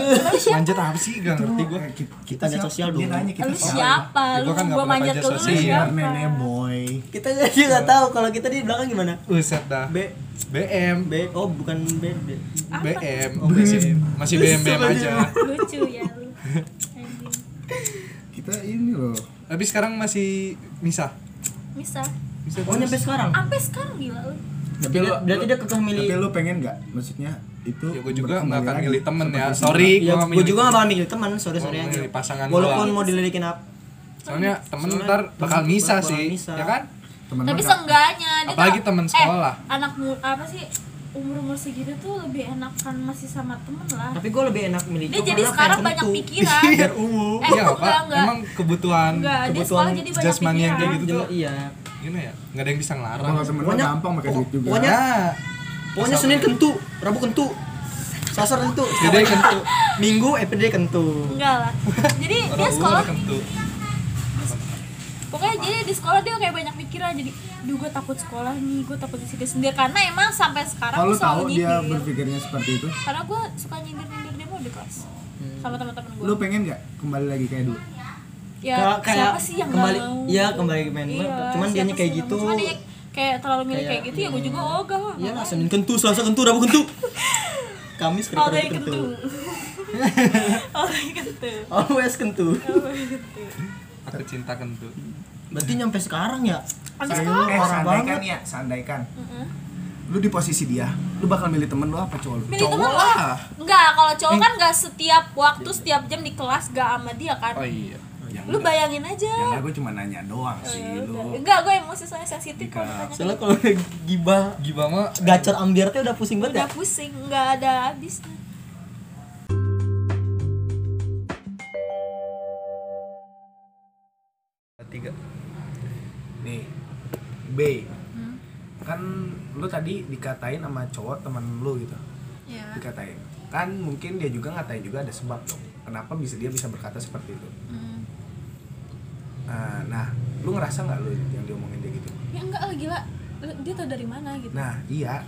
Speaker 3: Manjat apa sih? Gak ngerti gue.
Speaker 2: Eh, Kita
Speaker 4: Tanya sosial
Speaker 2: Dia
Speaker 4: dulu.
Speaker 2: nanya kita
Speaker 5: lu
Speaker 2: siapa.
Speaker 5: siapa
Speaker 3: Ya,
Speaker 5: lu
Speaker 3: gua kan nggak
Speaker 5: gue
Speaker 3: pernah panjat
Speaker 5: manjat ke lu lu
Speaker 3: sosial. Iya,
Speaker 5: siapa
Speaker 2: Nenek boy.
Speaker 4: Kita jadi nggak tahu kalau kita di belakang gimana.
Speaker 3: Uset dah.
Speaker 4: B
Speaker 3: BM.
Speaker 4: B oh bukan B B.
Speaker 5: Apa?
Speaker 3: BM. Oh, masih masih BM BM aja.
Speaker 5: lucu ya lu anjing
Speaker 2: Kita ini loh.
Speaker 3: Tapi sekarang masih misah.
Speaker 5: bisa
Speaker 3: Misah
Speaker 4: Oh
Speaker 3: terus.
Speaker 4: nyampe sekarang.
Speaker 5: sampai sekarang gila lu
Speaker 4: Berarti dia, berarti dia kekeh milih.
Speaker 2: Tapi lu pengen nggak? Maksudnya itu.
Speaker 3: Ya gue juga
Speaker 2: berkembali
Speaker 3: nggak akan
Speaker 2: lagi.
Speaker 3: milih temen ya.
Speaker 2: Seperti
Speaker 3: Sorry,
Speaker 4: Ya,
Speaker 3: gue nggak
Speaker 4: gue
Speaker 3: milih.
Speaker 4: juga gak bakal milih teman, sorry
Speaker 3: Gua
Speaker 4: sorry
Speaker 3: mau milih
Speaker 4: aja.
Speaker 3: pasangan
Speaker 4: Walaupun
Speaker 3: doang.
Speaker 4: mau dililikin apa,
Speaker 3: Soalnya temen
Speaker 4: Soalnya
Speaker 3: ntar bakal
Speaker 4: temen
Speaker 3: misah
Speaker 4: bakal
Speaker 3: sih,
Speaker 4: misah.
Speaker 3: ya kan?
Speaker 2: teman
Speaker 5: tapi
Speaker 2: lu nggak?
Speaker 5: seenggaknya dia
Speaker 3: Apalagi
Speaker 5: tuh-
Speaker 3: teman sekolah.
Speaker 5: eh, anak mu- apa sih umur umur segitu tuh lebih enakan masih sama temen lah
Speaker 4: tapi gue lebih enak milih.
Speaker 5: Ah. dia
Speaker 4: cowok
Speaker 5: jadi
Speaker 4: karena
Speaker 5: sekarang
Speaker 4: pengen
Speaker 5: banyak
Speaker 4: tentu.
Speaker 5: pikiran
Speaker 4: Biar umum.
Speaker 5: eh
Speaker 3: Iya,
Speaker 5: enggak
Speaker 3: Pak.
Speaker 5: enggak
Speaker 3: Emang kebutuhan
Speaker 5: enggak dia sekolah
Speaker 3: Kan kebutuhan
Speaker 5: jadi banyak
Speaker 3: jasmani yang kayak
Speaker 5: pikiran
Speaker 3: gitu tuh
Speaker 4: Jadi- Iya.
Speaker 3: gimana ya? Nggak ada yang bisa ngelarang.
Speaker 2: Kalau temen lu
Speaker 4: Pokoknya-
Speaker 2: gampang pakai duit juga.
Speaker 4: pokoknya-
Speaker 3: Nah,
Speaker 4: Pokoknya Senin kentu, Rabu kentu, Sasar kentu,
Speaker 3: Gede kentu.
Speaker 4: Minggu FPD kentu.
Speaker 5: enggak lah jadi dia
Speaker 3: orang
Speaker 5: sekolah
Speaker 3: luar kentut.
Speaker 5: pokoknya jadi di sekolah dia kayak banyak pikiran jadi duh gue takut sekolah nih gue takut di situ sendiri karena emang sampai sekarang
Speaker 2: Kalau lu
Speaker 5: gue
Speaker 2: tahu
Speaker 5: selalu
Speaker 2: dia
Speaker 5: nyindir
Speaker 2: berpikirnya seperti itu,
Speaker 5: karena gue suka nyindir nyindir dia mau di kelas
Speaker 3: Hmm.
Speaker 5: sama teman-teman gue
Speaker 2: lu pengen nggak kembali lagi kayak dulu?
Speaker 5: ya
Speaker 4: Kayak- kayak
Speaker 5: siapa sih yang
Speaker 4: kembali-
Speaker 5: gak mau
Speaker 4: iya, kembali ke main
Speaker 5: Iya,
Speaker 4: mata. Cuman
Speaker 5: siapa
Speaker 4: dianya kayak
Speaker 5: sih yang gak mau?
Speaker 4: gitu.
Speaker 5: Cuman dia kayak terlalu milih kayak
Speaker 4: Kayak,
Speaker 5: gitu ya gue juga ogah lah
Speaker 4: Iya lah Senin kentu, Selasa kentu, Rabu kentu. Kamis
Speaker 5: Oh,
Speaker 4: kerja
Speaker 5: kentu.
Speaker 4: kentu.
Speaker 5: Oh, kentu.
Speaker 4: Always kentu.
Speaker 3: Aku cinta kentut.
Speaker 4: Berarti nyampe sekarang ya?
Speaker 5: Sampai
Speaker 2: Saya-
Speaker 5: sekarang
Speaker 2: eh,
Speaker 4: parah
Speaker 2: sandaikan ya, sandaikan. Lu di posisi dia, lu bakal milih temen lu apa cowok lu?
Speaker 5: milih teman lah. Enggak, kalau
Speaker 4: Eh.
Speaker 5: cowok kan enggak setiap waktu, setiap jam di kelas gak sama dia kan.
Speaker 3: Oh iya.
Speaker 2: Yang
Speaker 5: Lu bayangin aja. Eh,
Speaker 2: Ya gue cuma nanya doang
Speaker 5: Oh, ya
Speaker 2: sih lu.
Speaker 5: Enggak, gue emosi soalnya sensitif kalau ditanya.
Speaker 4: Soalnya kalau udah gibah,
Speaker 3: Gimana mah
Speaker 4: gacor ambiar teh udah pusing banget.
Speaker 5: Udah
Speaker 4: ya?
Speaker 5: pusing, enggak ada habisnya.
Speaker 3: tiga.
Speaker 2: Nih. B. Kan lu tadi dikatain sama cowok temen lu gitu.
Speaker 5: Iya.
Speaker 2: Dikatain. Kan mungkin dia juga ngatain juga ada sebab dong. Kenapa bisa dia bisa berkata seperti itu?
Speaker 5: Hmm.
Speaker 2: Eh, nah, lu ngerasa nggak lu yang diomongin dia gitu?
Speaker 5: Ya enggak lah gila. Lu- Dia tau dari mana gitu.
Speaker 2: Nah, iya.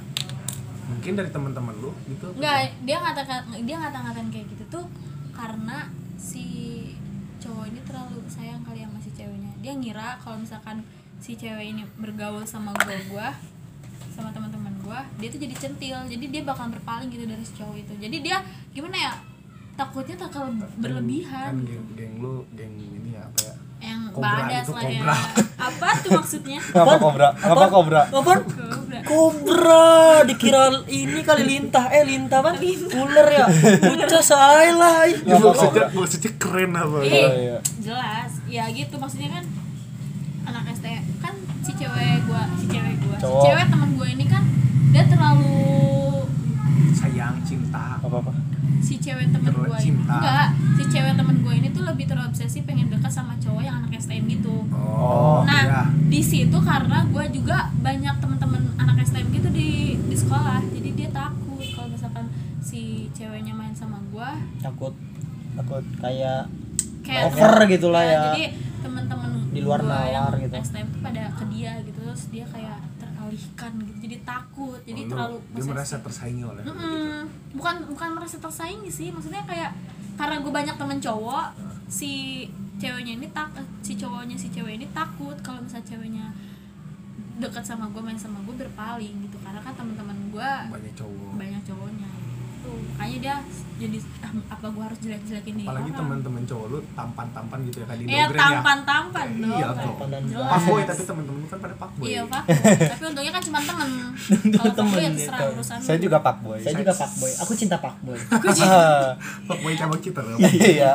Speaker 2: Mungkin dari teman-teman lu gitu.
Speaker 5: Enggak, dia ngatakan dia ngata-ngatain kayak gitu tuh karena si cowok ini terlalu sayang kali sama si ceweknya. Dia ngira kalau misalkan si cewek ini bergaul sama gua gua sama teman-teman gua, dia tuh jadi centil. Jadi dia bakal berpaling gitu dari si cowok itu. Jadi dia gimana ya? Takutnya bakal
Speaker 2: Kan
Speaker 5: berlebihan
Speaker 2: geng, geng lu, geng ini ya apa ya?
Speaker 5: yang
Speaker 2: Kobra
Speaker 5: badas
Speaker 2: itu
Speaker 5: lah ya.
Speaker 2: kobra.
Speaker 5: Apa tuh maksudnya?
Speaker 1: Kenapa kobra? Kenapa kobra?
Speaker 4: Apaan?
Speaker 5: Kobra.
Speaker 4: Kobra, dikira ini kali lintah. Eh, lintah apa? Ular ya. Bocah say lah. ih.
Speaker 2: Ya, maksudnya, maksudnya keren apa? ya?
Speaker 5: Ih,
Speaker 1: iya.
Speaker 5: jelas ya gitu maksudnya kan anak ST kan si cewek gua si cewek gua si
Speaker 1: Cowok.
Speaker 5: cewek teman gua ini kan dia terlalu
Speaker 2: Sayang, cinta.
Speaker 1: Apa apa?
Speaker 5: si cewek teman
Speaker 2: Terlalu
Speaker 5: gua ini
Speaker 2: cinta.
Speaker 5: enggak si cewek teman gua ini tuh lebih terobsesi pengen dekat sama cowok yang anak STM gitu
Speaker 2: Oh,
Speaker 5: nah
Speaker 2: iya.
Speaker 5: di situ karena gua juga banyak teman-teman anak STM gitu di di sekolah jadi dia takut kalau misalkan si ceweknya main sama gua
Speaker 4: Takut takut kayak
Speaker 5: kayak
Speaker 4: Over gitu lah ya.
Speaker 5: jadi teman-teman
Speaker 4: di luar
Speaker 5: gua yang
Speaker 4: nalar gitu
Speaker 5: STM tuh pada ke dia gitu terus dia kayak teralihkan gitu jadi takut jadi
Speaker 2: Oh, lu-
Speaker 5: terlalu
Speaker 2: dia
Speaker 5: posesif.
Speaker 2: merasa tersaingi oleh lu gitu.
Speaker 5: Mm-mm. bukan bukan merasa tersaingi sih maksudnya kayak karena gue banyak temen cowok si ceweknya ini tak eh, si cowoknya si cewek ini takut kalau misalnya ceweknya dekat sama gue main sama gue berpaling gitu karena kan teman-teman gue
Speaker 2: banyak cowok
Speaker 5: banyak cowoknya tuh makanya dia jadi "Ah, apa gue harus jelek-jelekin nih
Speaker 2: apalagi
Speaker 5: orang?"
Speaker 2: teman-teman cowok lu tampan-tampan gitu ya kan di
Speaker 5: Iya
Speaker 2: downgrade
Speaker 5: tampan-tampan
Speaker 2: ya
Speaker 5: dong.
Speaker 2: iya dong
Speaker 5: Jelas.
Speaker 2: fuckboy tapi temen-temen lu kan pada fuckboy
Speaker 5: Iya pak, tapi untungnya kan cuma temen Kalau temen
Speaker 2: gitu.
Speaker 5: ya terserah urusan
Speaker 3: Saya
Speaker 5: lu.
Speaker 3: juga pak boy.
Speaker 4: saya juga fuckboy aku cinta fuckboy
Speaker 2: fuckboy cabang kita loh
Speaker 4: iya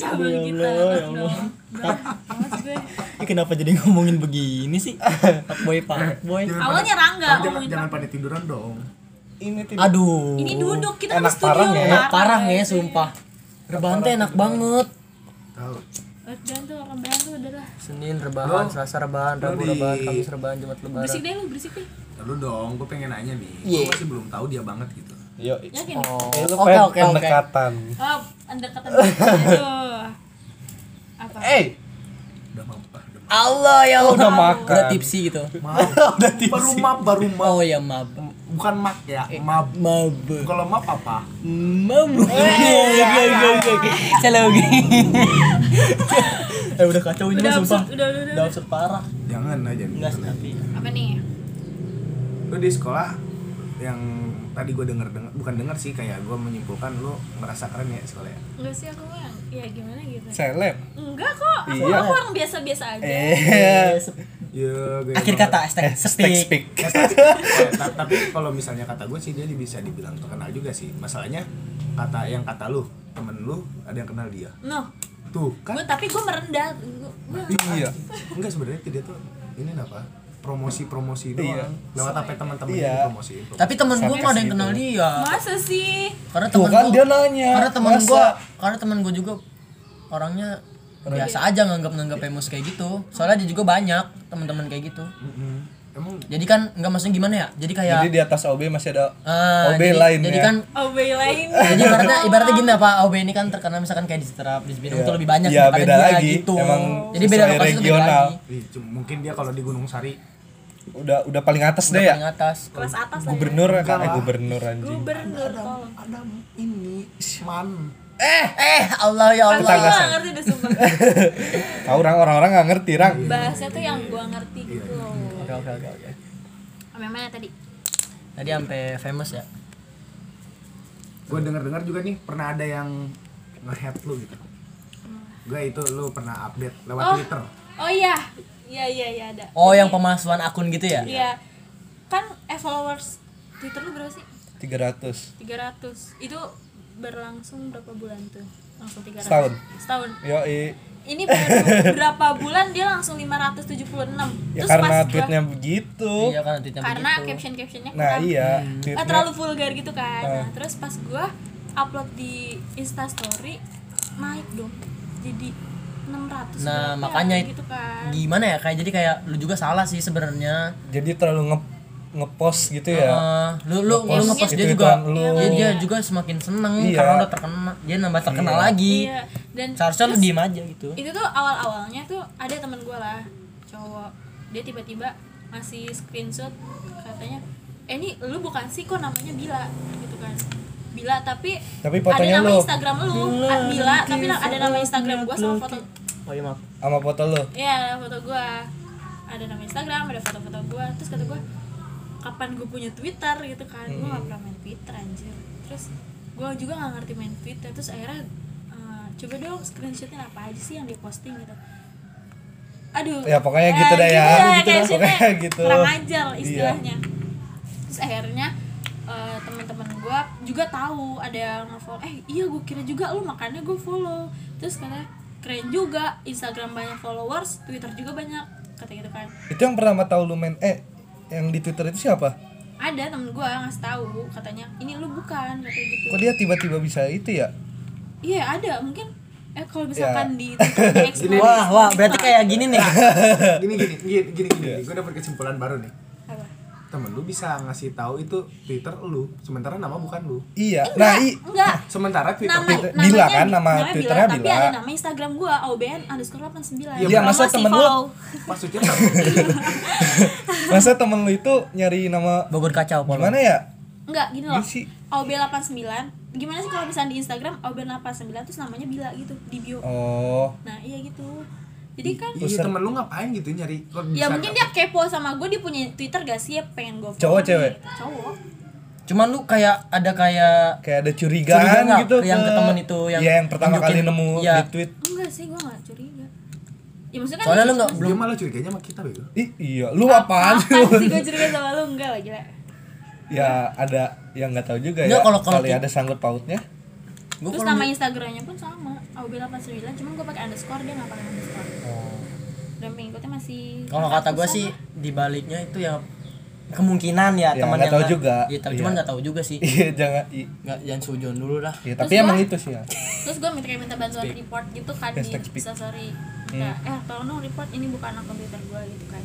Speaker 5: cabang kita dong Berat banget gue.
Speaker 4: Ih, kenapa jadi ngomongin begini sih fuckboy fuckboy
Speaker 2: Jangan
Speaker 5: Awalnya
Speaker 2: pada-
Speaker 5: Rangga
Speaker 2: jangan,
Speaker 5: ngomongin
Speaker 2: jangan
Speaker 5: Pak.
Speaker 2: pada tiduran dong
Speaker 3: Ini tidak.
Speaker 4: aduh
Speaker 5: Ini duduk kita kan di
Speaker 3: Enak
Speaker 5: studio Iya.
Speaker 3: parah nggak ya?
Speaker 4: Eh, parah ya sumpah rebahan teh enak banget
Speaker 2: tahu
Speaker 5: Dan tuh orang Bayan tuh adalah
Speaker 6: Senin rebahan, Selasa rebahan,
Speaker 2: lu
Speaker 6: Rabu
Speaker 2: di-
Speaker 6: rebahan, Kamis rebahan, Jumat
Speaker 5: berisik
Speaker 6: lebaran.
Speaker 5: deh lu berisik deh.
Speaker 2: Lalu dong, gue pengen nanya nih. Gue
Speaker 4: Iya.
Speaker 2: masih belum tahu dia banget gitu.
Speaker 3: Yo.
Speaker 5: Yakin?
Speaker 4: oh
Speaker 3: Itu
Speaker 4: oke
Speaker 3: pen-
Speaker 4: oke oke
Speaker 3: pendekatan.
Speaker 5: Oh, anda kata Aduh. Apa?
Speaker 3: Eh,
Speaker 2: Udah maaf, ah, udah maaf.
Speaker 4: Allah ya Allah
Speaker 3: udah makan.
Speaker 4: udah tipsi gitu
Speaker 2: Maaf. baru maaf, baru maaf.
Speaker 4: oh ya mab
Speaker 2: Bukan mak ya,
Speaker 4: Iya.
Speaker 2: maaf.
Speaker 4: Eh, mab
Speaker 2: Kalau maaf apa?
Speaker 4: mab oke oke oke oke salah oke eh udah kacau ini
Speaker 5: Udah
Speaker 4: mah sumpah
Speaker 5: absurd, udah, udah, udah.
Speaker 4: udah absurd parah
Speaker 2: Jangan aja nih.
Speaker 4: enggak sih tapi
Speaker 5: Apa nih?
Speaker 2: Lu di sekolah yang tadi gue denger denger bukan denger sih kayak gue menyimpulkan lu merasa keren ya sekolahnya
Speaker 5: Enggak sih aku yang ya gimana gitu.
Speaker 3: seleb.
Speaker 5: Enggak kok, aku,
Speaker 3: Iya.
Speaker 5: aku orang biasa-biasa aja.
Speaker 3: Eh,
Speaker 2: ya gaya
Speaker 4: akhir
Speaker 2: banget.
Speaker 4: kata hashtag speak
Speaker 3: speak.
Speaker 2: Eh, ta- tapi kalau misalnya kata gue sih dia bisa dibilang terkenal juga sih masalahnya kata yang kata lu temen lu ada yang kenal dia
Speaker 5: No,
Speaker 2: tuh kan
Speaker 5: gue tapi gue merendah. Gua- gua-
Speaker 3: Iya.
Speaker 2: enggak sebenarnya itu dia tuh ini apa promosi-promosi doang
Speaker 3: Iya.
Speaker 2: lewat apa ya, teman-teman
Speaker 3: Iya.
Speaker 2: yang promosi
Speaker 4: tapi temen gue mah ada yang kenal dia
Speaker 5: Masa sih?
Speaker 4: karena
Speaker 3: ya. Tuh
Speaker 4: temen
Speaker 3: kan
Speaker 4: gua-
Speaker 3: dia nanya.
Speaker 4: karena teman
Speaker 3: Masa?
Speaker 4: gua karena teman gua juga orangnya biasa aja nganggap nganggap emos kayak gitu soalnya dia juga banyak teman-teman kayak gitu
Speaker 2: emang
Speaker 4: jadi kan nggak maksudnya gimana ya jadi kayak
Speaker 3: Jadi di atas OB masih ada
Speaker 4: ah,
Speaker 3: OB
Speaker 4: jadi,
Speaker 3: lain
Speaker 4: jadi
Speaker 3: ya.
Speaker 4: kan
Speaker 5: Oh, lain.
Speaker 4: jadi ibaratnya ibaratnya gini apa OB ini kan terkenal misalkan kayak di Seterap di Cibinong
Speaker 3: Iya.
Speaker 4: itu lebih banyak
Speaker 3: Iya,
Speaker 4: daripada
Speaker 3: beda
Speaker 4: dia
Speaker 3: lagi.
Speaker 4: gitu
Speaker 3: Emang
Speaker 4: jadi beda
Speaker 3: sesuai
Speaker 4: lokasi itu beda
Speaker 3: regional.
Speaker 4: lagi
Speaker 2: ih, cum- mungkin dia kalau di Gunung Sari
Speaker 3: udah udah paling atas
Speaker 4: udah
Speaker 3: deh ya.
Speaker 4: paling atas
Speaker 5: Kelas atas lah.
Speaker 3: Gubernur kan eh, gubernur anjing.
Speaker 5: Gubernur tolong.
Speaker 2: ada ini man
Speaker 4: eh eh Allah ya
Speaker 5: Aku
Speaker 4: Allah
Speaker 5: gak ngerti deh sumpah
Speaker 3: Tahu orang orang-orang nggak ngerti, Rang.
Speaker 5: Bahasnya tuh yang gua ngerti gitu loh
Speaker 4: oke oke oke oke
Speaker 5: Sampai mana tadi?
Speaker 4: tadi sampai famous ya
Speaker 2: gue denger dengar juga nih pernah ada yang nge-head lu gitu gue itu lu pernah update lewat
Speaker 5: Oh.
Speaker 2: Twitter
Speaker 5: Oh iya Iya iya iya ada
Speaker 4: oh yang pemalsuan akun gitu ya
Speaker 5: Iya Kan eh, followers Twitter lu berapa sih?
Speaker 3: 300.
Speaker 5: 300 Itu berlangsung berapa bulan tuh? Langsung 300
Speaker 3: Setahun.
Speaker 5: Setahun
Speaker 3: Yo,
Speaker 5: Ini baru berapa bulan dia langsung 576
Speaker 3: ya
Speaker 5: Terus
Speaker 3: karena
Speaker 5: pas gua-
Speaker 3: tweetnya begitu.
Speaker 4: iya Eh, kan tweetnya
Speaker 5: Karena
Speaker 4: begitu.
Speaker 5: caption-captionnya
Speaker 3: Nah,
Speaker 5: kurang.
Speaker 3: iya.
Speaker 5: Nggak
Speaker 3: Tweetnya
Speaker 5: terlalu vulgar gitu kan nah, terus pas gua upload di instastory naik dong jadi 600
Speaker 4: Nah,
Speaker 5: berapa
Speaker 4: makanya
Speaker 5: ya, gitu kan
Speaker 4: gimana ya kayak jadi kayak lu juga salah sih sebenarnya
Speaker 3: jadi terlalu nge ngepost gitu ya.
Speaker 4: Eh, lu lu lu
Speaker 3: Ngepost
Speaker 4: ngepost dia
Speaker 3: gitu-gituan
Speaker 4: juga
Speaker 3: lu.
Speaker 4: dia, dia juga semakin seneng
Speaker 3: Iya.
Speaker 4: karena udah terkenal dia nambah terkenal lagi
Speaker 5: iya dan
Speaker 4: seharusnya lu
Speaker 5: terus
Speaker 4: diem aja gitu
Speaker 5: itu tuh awal awalnya tuh ada temen gua lah cowok dia tiba tiba masih screenshot katanya eh ini lu bukan sih kok namanya Bila gitu kan Bila tapi
Speaker 3: Tapi fotonya
Speaker 5: ada nama
Speaker 3: lu.
Speaker 5: Instagram lu Ah, Bila, tapi ada nama Instagram gua sama foto
Speaker 4: oh iya maaf
Speaker 3: Sama foto lu.
Speaker 5: Iya, ada foto gua. Ada nama Instagram, ada foto-foto gua. Terus kata gua, kapan gua punya Twitter gitu kan. Gua
Speaker 3: Hmm.
Speaker 5: gak pernah main Twitter anjir. Terus gua juga gak ngerti main Twitter. Terus akhirnya eh, coba dong screenshotin apa aja sih yang dia posting gitu. Aduh.
Speaker 3: Ya, pokoknya gitu dah ya. Gitu
Speaker 5: kayak
Speaker 3: dah,
Speaker 5: sini
Speaker 3: pokoknya gitu.
Speaker 5: Kurang ajar istilahnya. Terus akhirnya eh, teman-teman gua juga tahu ada yang follow eh iya gue kira juga lu makanya gue follow terus katanya keren juga Instagram banyak followers Twitter juga banyak kata gitu kan
Speaker 3: Itu yang pertama tahu lu main eh yang di Twitter itu siapa?
Speaker 5: ada temen gue ngasih tahu katanya ini lu bukan kata gitu
Speaker 3: Kok dia tiba-tiba bisa itu ya?
Speaker 5: iya ada mungkin eh kalau
Speaker 3: Iya.
Speaker 5: misalkan di kan. Twitternya explore
Speaker 4: wah wah berarti kayak gini nih
Speaker 3: Iya.
Speaker 2: gini gini gini gini gini, gue dapet kesimpulan baru nih
Speaker 5: apa
Speaker 2: temen lu bisa ngasih tahu itu Twitter lu, sementara nama bukan lu.
Speaker 3: Iya. Nah, i-
Speaker 5: Enggak.
Speaker 2: Sementara Twitter
Speaker 5: Nama,
Speaker 3: Twitter- Bila kan, nama Twitternya
Speaker 5: Tapi
Speaker 3: Bila.
Speaker 5: ada nama Instagram gua OBN underscore 89
Speaker 3: Iya, masa temen lu-
Speaker 2: maksudnya nama
Speaker 3: masa temen lu itu nyari nama
Speaker 4: Bogor kacau polo.
Speaker 3: gimana ya?
Speaker 5: Enggak, gini loh
Speaker 3: Gini sih.
Speaker 5: OB 89 Gimana sih kalau misalnya di Instagram OB 89 terus namanya Bila gitu Di bio
Speaker 3: Oh,
Speaker 5: Nah iya gitu Jadi kan
Speaker 2: Iya, temen lu ngapain gitu nyari kok
Speaker 5: Ya
Speaker 2: bisa-
Speaker 5: mungkin dia kepo sama gue Dia punya Twitter gak sih ya pengen gue
Speaker 3: Cowok, cewek?
Speaker 5: Cowok
Speaker 4: Cuman lu kayak ada kayak
Speaker 3: kayak ada curigaan
Speaker 4: nggak
Speaker 3: gitu.
Speaker 4: yang ke temen itu yang
Speaker 3: Iya, yang pertama
Speaker 4: nunjukin-
Speaker 3: kali nemu
Speaker 4: Iya.
Speaker 3: di tweet.
Speaker 5: Enggak sih gue gak curiga Ya maksudnya kan
Speaker 4: Soalnya lu nggak
Speaker 2: dia
Speaker 4: belum
Speaker 2: malah curiganya sama kita bego.
Speaker 3: Ih, iya, lu apaan sih?
Speaker 5: Apaan sih
Speaker 3: Bun?
Speaker 5: gue curiga sama lu Enggak lah gila
Speaker 3: ya ada yang nggak tahu juga
Speaker 4: Nggak,
Speaker 3: ya.
Speaker 4: kalau- kalau
Speaker 3: kali
Speaker 4: ti-
Speaker 3: ada sangkut pautnya.
Speaker 4: gua
Speaker 5: Terus
Speaker 4: kalau
Speaker 5: nama Instagramnya pun sama OB 89 Cuman gue pakai underscore Dia gak pakai underscore Dan pengikutnya masih
Speaker 4: Oh. Kalau kata gue
Speaker 5: 400-an
Speaker 4: sih
Speaker 5: lah.
Speaker 4: di baliknya itu ya kemungkinan ya,
Speaker 3: Ya,
Speaker 4: teman
Speaker 3: nggak
Speaker 4: yang
Speaker 3: tahu
Speaker 4: nggak-
Speaker 3: juga.
Speaker 4: Iya, tapi
Speaker 3: Iya.
Speaker 4: cuman nggak tahu juga sih.
Speaker 3: Iya, jangan i-
Speaker 4: Nggak jangan sujon dulu lah.
Speaker 3: Iya, tapi
Speaker 5: Terus
Speaker 3: emang
Speaker 5: gua-
Speaker 3: itu sih ya.
Speaker 5: terus gue minta kayak minta bantuan report gitu kan di
Speaker 3: Hashtag speak. Hmm.
Speaker 5: sorry kayak eh tolong dong report ini bukan anak komputer gue gitu kan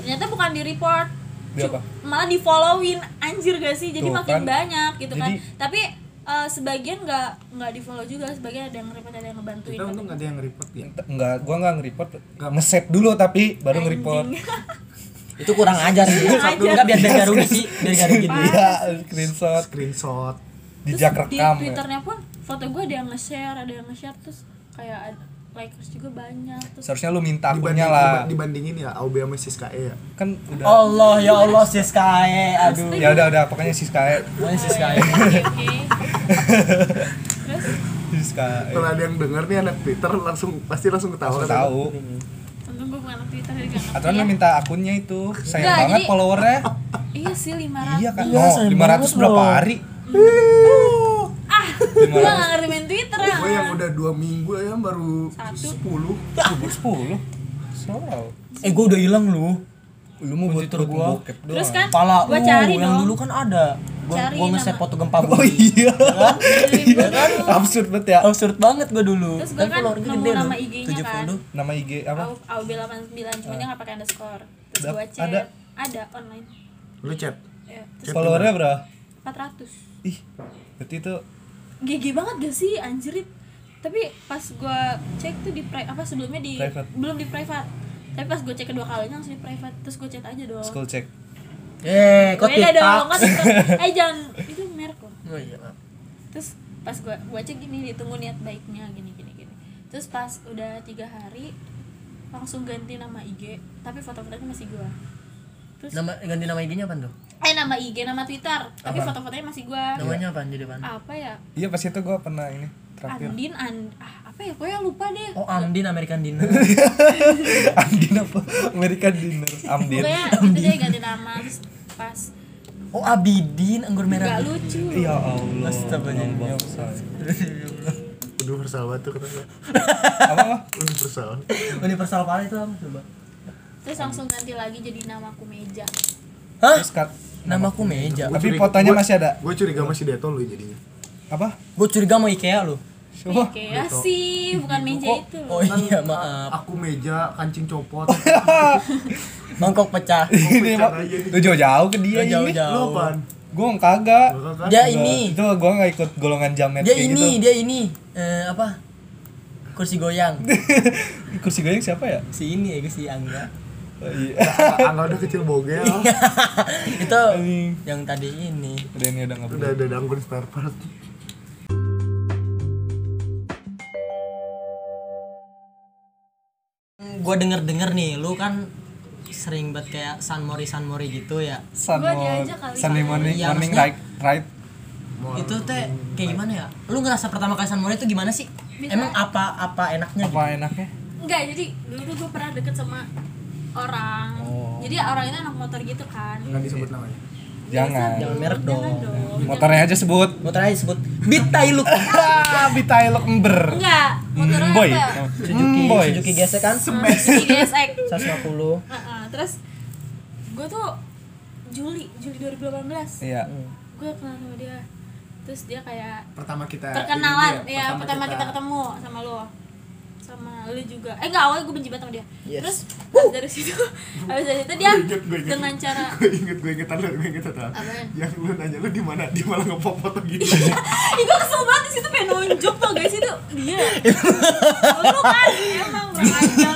Speaker 5: ternyata bukan di report
Speaker 3: Di
Speaker 5: cu-
Speaker 3: apa?
Speaker 5: malah di followin anjir gak sih jadi
Speaker 3: Tuh,
Speaker 5: makin
Speaker 3: kan.
Speaker 5: banyak gitu kan
Speaker 3: Jadi-
Speaker 5: tapi eh, sebagian nggak nggak di follow juga sebagian ada yang report ada yang ngebantuin
Speaker 2: Kita untung gak ada yang report ya.
Speaker 3: T- Nggak, gua nggak nge-report. Nge-save dulu tapi baru nge-report.
Speaker 4: Itu kurang ajar sih.
Speaker 5: Kurang
Speaker 4: Enggak biar biar gak rugi sih, biar gak rugi.
Speaker 3: Iya, screenshot,
Speaker 2: Screenshot.
Speaker 3: jejak
Speaker 5: di
Speaker 3: rekam. ya.
Speaker 5: twitternya pun foto gue ada yang nge-share ada yang nge-share terus kayak ad- likers juga banyak terus
Speaker 3: Seharusnya lu minta
Speaker 2: Dibanding,
Speaker 3: akunnya lah.
Speaker 2: dibandingin ya AUB sama Siska E ya.
Speaker 3: Kan udah
Speaker 5: Oh,
Speaker 4: Allah ya Allah Siskae, aduh.
Speaker 3: ya udah udah pokoknya Siska
Speaker 4: Mana Siskae?
Speaker 5: oke oke terus
Speaker 3: Siska
Speaker 2: Kalau ada yang denger nih anak Twitter langsung pasti langsung ketawa. kan.
Speaker 3: Gak tahu.
Speaker 5: untung gue bukan anak twitter jadi nggak
Speaker 3: Atau lu
Speaker 5: ngerti ya.
Speaker 3: minta akunnya itu. Sayang
Speaker 5: Nggak,
Speaker 3: banget
Speaker 5: jadi-
Speaker 3: followernya.
Speaker 5: iya sih 500
Speaker 3: Iya kan.
Speaker 4: Iya, sayang
Speaker 3: no, 500
Speaker 4: banget
Speaker 3: berapa
Speaker 4: loh.
Speaker 3: hari?
Speaker 5: ah gue gak ngerti main twitter ah
Speaker 2: Gue yang udah dua minggu ya baru
Speaker 5: Satu.
Speaker 2: sepuluh.
Speaker 3: 10. Soal.
Speaker 4: Eh gua udah hilang lu.
Speaker 3: Lu mau buat
Speaker 4: Twitter
Speaker 3: buat
Speaker 4: gua.
Speaker 3: bokep
Speaker 5: terus
Speaker 3: doang.
Speaker 5: kan
Speaker 4: Pala
Speaker 5: gue
Speaker 4: lu
Speaker 5: cari
Speaker 4: yang
Speaker 5: dong
Speaker 4: dulu kan ada. Gua
Speaker 5: Cari
Speaker 4: gua nge-save
Speaker 5: nama.
Speaker 4: foto gempa
Speaker 3: Oh
Speaker 4: bumi.
Speaker 3: iya.
Speaker 5: Gua kan-
Speaker 3: Absurd banget ya.
Speaker 4: Absurd banget gua dulu.
Speaker 5: Terus gua
Speaker 4: Tapi
Speaker 5: kan
Speaker 4: followernya
Speaker 5: nemu
Speaker 4: gede
Speaker 5: nama
Speaker 4: loh,
Speaker 5: IG-nya kan.
Speaker 4: 70.
Speaker 3: Nama IG apa?
Speaker 5: Au- AUB 89 cuma dia gak pakai underscore terus
Speaker 3: Dap-
Speaker 5: gue chat
Speaker 3: ada?
Speaker 5: ada. online
Speaker 2: Lu chat.
Speaker 5: ya, terus
Speaker 3: Followernya berapa?
Speaker 5: 400
Speaker 3: Ih, berarti itu
Speaker 4: Oh.
Speaker 5: gigi banget gak sih anjirit tapi pas gue cek tuh di pri- apa sebelumnya di
Speaker 3: Private.
Speaker 5: belum di private tapi pas gue cek kedua kalinya langsung di private terus gue chat aja dong
Speaker 3: school check.
Speaker 4: Eh, kok
Speaker 5: beda dong
Speaker 4: TikTok?
Speaker 5: kan TikTok. eh jangan itu merek loh
Speaker 4: Oh iya. maaf.
Speaker 5: terus pas gua gua cek gini ditunggu niat baiknya gini gini gini terus pas udah tiga hari langsung ganti nama IG tapi foto-fotonya masih gua terus
Speaker 4: Nama ganti nama IG-nya apa tuh?
Speaker 3: Iya.
Speaker 5: eh nama IG nama Twitter tapi foto-fotonya masih gua
Speaker 4: Namanya apaan jadi apaan?
Speaker 5: apa ya
Speaker 3: Iya pas itu gua pernah ini terakhir.
Speaker 5: Andin and ah, apa ya gua yang lupa deh
Speaker 4: Oh, Amdin American Dinner.
Speaker 3: Andin apa? American Dinner. Amdin.
Speaker 5: pokoknya itu deh ganti nama terus pas
Speaker 4: Oh, Abidin anggur
Speaker 5: nggak
Speaker 4: merah. Iya.
Speaker 5: lucu
Speaker 3: Ya Allah.
Speaker 4: Astagfirullahaladzim.
Speaker 2: Universal banget tuh kenapa?
Speaker 3: Apa?
Speaker 2: Universal.
Speaker 4: Universal Pala itu apa coba?
Speaker 5: terus langsung ganti lagi jadi namaku meja
Speaker 4: Hah?
Speaker 3: Terus cut.
Speaker 4: Namaku meja.
Speaker 3: Tapi fotonya masih ada.
Speaker 2: Gue curiga masih deto lu jadinya.
Speaker 3: Apa?
Speaker 4: Gue curiga mau IKEA lu.
Speaker 3: Coba.
Speaker 5: kayak sih bukan meja itu
Speaker 4: gitu. Oh
Speaker 5: loh
Speaker 4: iya, maaf.
Speaker 2: Kan, ah, Aku meja kancing copot.
Speaker 3: Ya
Speaker 4: Mangkok pecah.
Speaker 3: Oh. Ini mah lu jauh-jauh ke dia Iya, ini.
Speaker 4: Dia
Speaker 2: Lu
Speaker 4: jauh-jauh.
Speaker 2: apaan?
Speaker 3: Gua kagak.
Speaker 2: Lu kan
Speaker 4: Dia
Speaker 3: Gua-
Speaker 4: ini,
Speaker 3: Itu gua nggak ikut golongan jamet
Speaker 4: dia
Speaker 3: kayak
Speaker 4: ini,
Speaker 3: gitu.
Speaker 4: dia ini. Eh, apa? Kursi goyang.
Speaker 3: Kursi goyang siapa ya?
Speaker 4: Si ini ya, si Angga.
Speaker 3: Oh, iya.
Speaker 2: Angga udah kecil bogel.
Speaker 4: itu yang tadi ini.
Speaker 3: Udah ini udah enggak
Speaker 2: Udah ada dangkut spare part.
Speaker 4: Gua denger-denger nih, lu kan sering banget kayak San Mori San Mori gitu ya.
Speaker 3: Sun
Speaker 5: Gua
Speaker 3: mau-
Speaker 5: diajak kali
Speaker 3: Sunday
Speaker 5: sama
Speaker 3: morning,
Speaker 4: Iya,
Speaker 3: morning
Speaker 4: maksudnya-
Speaker 3: right, right.
Speaker 4: itu teh kayak gimana ya lu ngerasa pertama kali San Mori itu gimana sih
Speaker 5: Bisa.
Speaker 4: emang apa apa enaknya gitu?
Speaker 3: Apa enaknya?
Speaker 5: Enggak, jadi dulu tuh gue pernah deket sama orang Jadi orang itu anak motor gitu kan
Speaker 2: Enggak disebut namanya.
Speaker 3: Jangan.
Speaker 4: jangan merek dong
Speaker 5: Jangan dong
Speaker 3: Motornya aja sebut.
Speaker 4: mau terakhir sebut bitai lu
Speaker 3: Ah, bitai lo ember.
Speaker 5: Enggak, motornya
Speaker 3: Hmm,
Speaker 8: Hmm,
Speaker 3: Boy. Oh.
Speaker 5: apa? ya?
Speaker 4: Suzuki
Speaker 3: Boy.
Speaker 4: Suzuki GS kan
Speaker 5: Suzuki GSX
Speaker 4: 150
Speaker 5: Heeh, Terus gue tuh Juli, Juli 2018
Speaker 3: Iya.
Speaker 4: Hmm.
Speaker 5: Gue kenal sama dia Terus dia kayak
Speaker 2: Pertama kita
Speaker 5: perkenalan Iya,
Speaker 2: ini dia,
Speaker 5: ya pertama kita ketemu sama lo sama lu juga eh nggak awalnya gue benci banget sama dia terus pas dari situ habis dari situ dia dengan cara
Speaker 2: gue inget gue inget lu gue inget tadi
Speaker 5: Apaan?
Speaker 2: yang lu nanya lu di mana dia malah ngepop foto gitu
Speaker 5: Ih gue kesel banget di situ pengen nunjuk tuh guys itu dia. Lu kan emang kurang ajar.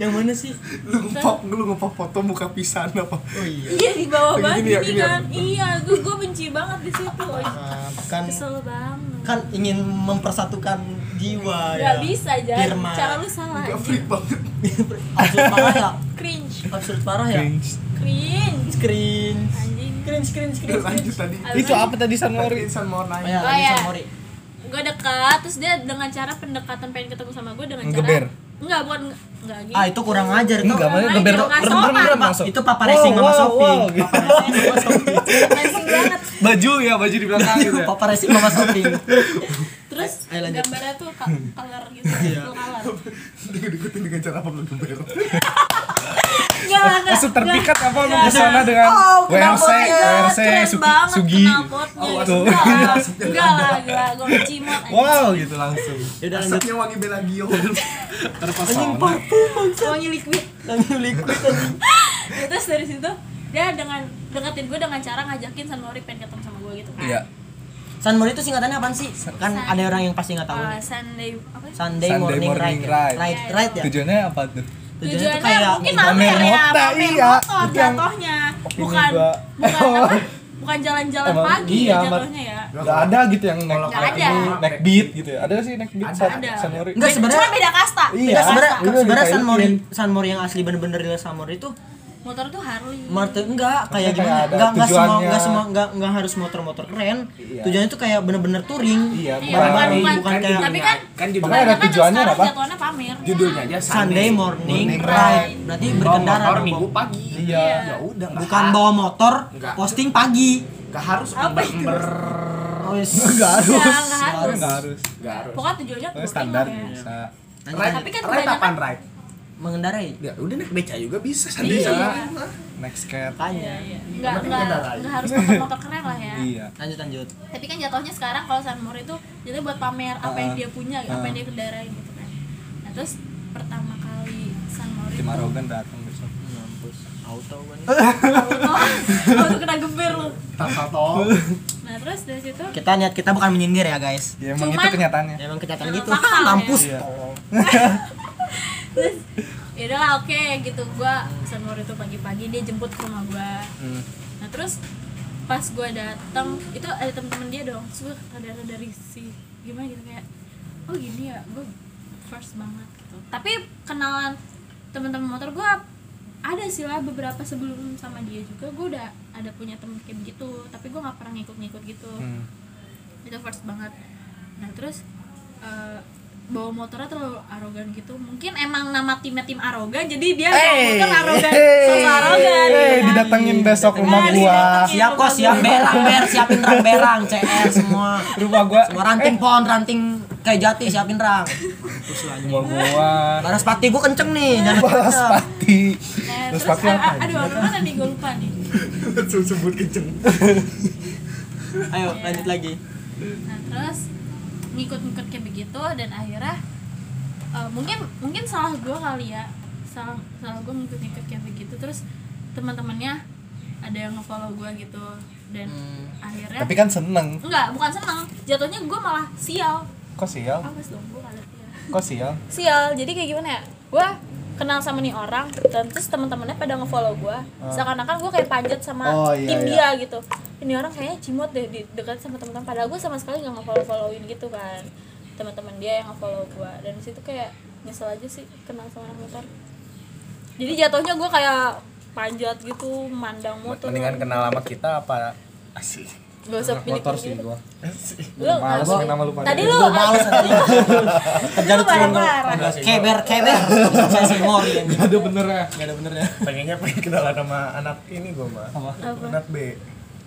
Speaker 4: Yang mana sih?
Speaker 2: lu ngepop lu ngepop foto muka pisan apa
Speaker 5: Iya di
Speaker 2: Yang
Speaker 5: bawah banget
Speaker 2: gini ya,
Speaker 5: gini
Speaker 2: gini ya?
Speaker 5: kan. Iya, gue gue benci banget di situ.
Speaker 4: Ah, kan
Speaker 5: Kesel banget.
Speaker 4: kan ingin mempersatukan jiwa ya.
Speaker 5: Gak bisa jadi
Speaker 4: Firman.
Speaker 5: cara lu salah.
Speaker 2: gak freak banget
Speaker 4: Absurd parah ya.
Speaker 5: Cringe,
Speaker 4: Absurd parah ya.
Speaker 5: cringe.
Speaker 4: Screen.
Speaker 5: Anjing.
Speaker 4: Screen screen
Speaker 5: Iya.
Speaker 4: screen.
Speaker 2: Udah lanjut tadi
Speaker 5: Abis
Speaker 8: Itu apa tadi Sanmori?
Speaker 2: Insan mau
Speaker 4: Oh
Speaker 2: nanya
Speaker 4: ya,
Speaker 5: Oh, ya.
Speaker 4: lanjut sama Mori.
Speaker 5: Gue dekat, terus dia dengan cara pendekatan pengen ketemu sama gue dengan
Speaker 8: Ngegeber.
Speaker 5: cara Enggak, bukan enggak gitu.
Speaker 4: Ah, itu kurang ajar itu.
Speaker 8: Enggak,
Speaker 5: Orang
Speaker 8: maksudnya
Speaker 5: lain
Speaker 8: ngeber
Speaker 5: juga nggak
Speaker 8: rem rem
Speaker 5: sopan,
Speaker 8: rem
Speaker 5: Pak.
Speaker 8: masuk.
Speaker 4: Itu paparazing
Speaker 8: Wow,
Speaker 4: sama
Speaker 8: wow,
Speaker 4: Sophie.
Speaker 8: wow.
Speaker 4: Paparazing sama Sophie.
Speaker 5: Amazing banget.
Speaker 8: Baju ya, baju di belakang gitu. ya.
Speaker 4: Paparazing sama Sophie.
Speaker 5: Terus
Speaker 4: Ayo lanjut.
Speaker 5: gambarnya tuh ka- color gitu, full color.
Speaker 2: Deket-deketin dengan cara apa lu geber
Speaker 5: Enggak lah, enggak.
Speaker 8: Langsung terpikat apa lu
Speaker 5: Enggak.
Speaker 8: pesona dengan
Speaker 5: Oh,
Speaker 8: WRC, WRC, Sugi, Sugi. Gitu.
Speaker 5: Tuh. Enggak lah, gila, gue cimot aja.
Speaker 8: Wow gitu langsung.
Speaker 4: Ya udah lanjut.
Speaker 2: asapnya wangi belagio
Speaker 5: Wangi liquid.
Speaker 4: Lanjut liquid aja.
Speaker 5: Ya, Terus dari situ dia dengan deketin gue dengan cara ngajakin Sanmori pengen ketemu sama gue gitu kan.
Speaker 8: Iya.
Speaker 4: Sunmori itu singkatannya apaan sih? Kan ada orang yang pasti nggak tahu.
Speaker 5: Eh, Sunday apa ya?
Speaker 4: Sunday,
Speaker 8: Sunday
Speaker 4: morning,
Speaker 8: morning
Speaker 4: ride.
Speaker 8: ride.
Speaker 4: Ride, ride ya.
Speaker 8: Tujuannya apa tuh?
Speaker 4: Tujuannya
Speaker 5: Tujuannya
Speaker 4: tuh kayak
Speaker 5: mungkin
Speaker 8: pamer
Speaker 5: pamer ya,
Speaker 8: mota,
Speaker 5: pamer
Speaker 8: iya.
Speaker 5: motor
Speaker 8: Itu yang-
Speaker 5: jatuhnya.
Speaker 8: Opini
Speaker 5: Bukan
Speaker 8: gua.
Speaker 5: bukan apa? Bukan jalan-jalan
Speaker 8: Emang
Speaker 5: pagi
Speaker 8: iya,
Speaker 5: ya
Speaker 8: Mat.
Speaker 5: jatuhnya ya.
Speaker 8: Gak ada gitu yang neck,
Speaker 5: Nggak ada.
Speaker 8: ini, neck beat gitu ya. Ada sih neck beat
Speaker 2: Ada,
Speaker 8: San-
Speaker 5: ada.
Speaker 8: Sanmori?
Speaker 4: Enggak
Speaker 5: Cuma
Speaker 4: sebenarnya
Speaker 5: beda kasta.
Speaker 8: Iya.
Speaker 4: Enggak sebenarnya
Speaker 8: Iya,
Speaker 4: sebenarnya
Speaker 8: dipaikin.
Speaker 4: Sunmori Sunmori yang asli bener-bener real Sunmori itu
Speaker 5: Motor tuh Harley.
Speaker 4: Martin enggak
Speaker 8: Iya.
Speaker 4: kayak
Speaker 8: Maksudnya
Speaker 4: gimana?
Speaker 8: kayak ada
Speaker 4: Enggak enggak semua
Speaker 8: tujuannya.
Speaker 4: enggak semua enggak enggak harus motor-motor keren.
Speaker 8: Iya.
Speaker 4: Tujuannya tuh kayak bener-bener touring.
Speaker 8: Iya,
Speaker 5: Iya,
Speaker 8: bukan
Speaker 5: bukan,
Speaker 8: Harley.
Speaker 5: bukan,
Speaker 4: bukan kayak-
Speaker 5: tapi kan
Speaker 2: kan
Speaker 8: Makanya ada
Speaker 5: kan
Speaker 8: tujuannya
Speaker 5: sekarang
Speaker 8: apa?
Speaker 5: jatuhannya pamer. Iya.
Speaker 2: judulnya aja
Speaker 4: Sunday morning ride. Berarti
Speaker 2: bawa
Speaker 4: berkendara
Speaker 2: motor
Speaker 4: dong,
Speaker 2: minggu
Speaker 4: Bob.
Speaker 2: pagi
Speaker 8: Iya.
Speaker 2: ya udah nggak
Speaker 4: Bukan
Speaker 2: ha-
Speaker 4: bawa motor,
Speaker 2: Enggak.
Speaker 4: posting pagi.
Speaker 2: nggak harus
Speaker 5: Apa itu?
Speaker 2: ember
Speaker 4: Enggak
Speaker 5: Enggak, enggak Iya, harus.
Speaker 8: Nggak harus.
Speaker 2: nggak harus
Speaker 5: Pokoknya tujuannya
Speaker 8: Pokoknya
Speaker 5: touring
Speaker 8: standar Iya.
Speaker 5: lah ya.
Speaker 8: bisa.
Speaker 2: Ride-
Speaker 5: Tapi kan
Speaker 2: ride
Speaker 5: kebanyakan-
Speaker 2: apaan ride
Speaker 4: Mengendarai.
Speaker 2: ya udah naik beca juga bisa
Speaker 5: Iya.
Speaker 2: santai jalan
Speaker 8: Next cat.
Speaker 4: Makanya.
Speaker 5: Enggak, enggak, enggak harus motor-motor keren lah ya.
Speaker 8: Iya.
Speaker 4: Lanjut lanjut.
Speaker 5: Tapi kan jatuhnya sekarang kalau sunmore itu jatuhnya buat pamer apa
Speaker 8: Ah.
Speaker 5: yang dia punya, apa yang dia kendarai gitu kan. Nah, terus pertama kali sunmore itu
Speaker 8: Tim Arogan datang besok.
Speaker 4: Auto kan. banget.
Speaker 5: auto, auto Oh, kena geber lu.
Speaker 2: tak tahu
Speaker 5: Nah, terus dari situ
Speaker 4: Kita niat kita bukan menyindir ya, guys.
Speaker 8: Ya emang
Speaker 5: Cuman-
Speaker 8: itu kenyataannya.
Speaker 4: Ya, Emang
Speaker 5: Emang
Speaker 4: kenyataan gitu.
Speaker 5: fakta ya.
Speaker 4: Mampus.
Speaker 8: Iya.
Speaker 5: terus ya udahlah oke gitu gua sunmore itu pagi-pagi dia jemput ke rumah gua. Nah, terus pas gua datang itu ada temen-temen dia dong. Terus gua kadang dari si gimana gitu kayak oh gini ya, gua first banget gitu. Tapi kenalan teman-teman motor gua ada sih lah beberapa sebelum sama dia juga gua udah ada punya temen kayak begitu, tapi gua nggak pernah ngikut-ngikut gitu. Itu first banget. Nah, terus eh, bawa motornya terlalu arogan gitu mungkin emang nama timnya tim arogan jadi dia bawa motor arogan sama arogan
Speaker 8: Eh,
Speaker 5: gitu kan.
Speaker 8: didatengin besok rumah
Speaker 5: Nah,
Speaker 8: gua.
Speaker 5: didatengin
Speaker 4: Siap
Speaker 6: Iya,
Speaker 4: kok,
Speaker 5: rumah
Speaker 4: siap
Speaker 5: gua.
Speaker 4: berang, ber, siapin rang berang, CR semua.
Speaker 8: Rumah gua.
Speaker 4: Semua ranting
Speaker 6: Eh.
Speaker 4: pohon, ranting kayak jati, siapin rang. Mampus lu anjing.
Speaker 8: Rumah gua.
Speaker 4: Baras pati gua kenceng nih, jangan
Speaker 8: Balas
Speaker 4: kenceng.
Speaker 8: pati.
Speaker 5: Nah,
Speaker 8: Terus
Speaker 5: terus,
Speaker 8: pakai
Speaker 5: a-
Speaker 8: apa?
Speaker 5: a- aduh apa mana nih gue lupa nih
Speaker 2: langsung sebut kenceng
Speaker 4: Ayo lanjut lagi.
Speaker 5: nah terus ngikut-ngikut kayak begitu dan akhirnya eh, mungkin mungkin salah gue kali ya salah salah gue ngikut-ngikut kayak begitu terus teman-temannya ada yang ngefollow gue gitu dan akhirnya
Speaker 8: Tapi kan seneng.
Speaker 5: enggak bukan seneng jatuhnya gue malah sial
Speaker 8: Kok sial?
Speaker 5: awas dong gue kaget ya
Speaker 8: Kok sial?
Speaker 5: sial jadi kayak gimana ya gue kenal sama nih orang dan terus teman-temannya pada ngefollow gue seakan-akan gue kayak panjat sama
Speaker 8: Ah. Oh, iya,
Speaker 5: tim
Speaker 8: iya.
Speaker 5: dia gitu ini orang kayaknya cimot deh di dekat sama teman-teman padahal gue sama sekali nggak ngefollow followin gitu kan teman-teman dia yang ngefollow gue dan di situ kayak nyesel aja sih kenal sama anak motor jadi jatuhnya gue kayak panjat gitu mandang
Speaker 8: Nah,
Speaker 5: motor
Speaker 7: Mendingan kenal sama kita apa asli?
Speaker 5: gak usah pilih
Speaker 8: Motor sih gua.
Speaker 5: lu
Speaker 8: Males main sama lu pada.
Speaker 5: tadi lu tadi lu parah-parah
Speaker 4: Keber, keber. Saya semua yang
Speaker 8: Ada bener ya? Gak ada bener ya?
Speaker 7: Pengennya pengen kenalan sama anak ini gua mah.
Speaker 5: Apa?
Speaker 7: Anak B.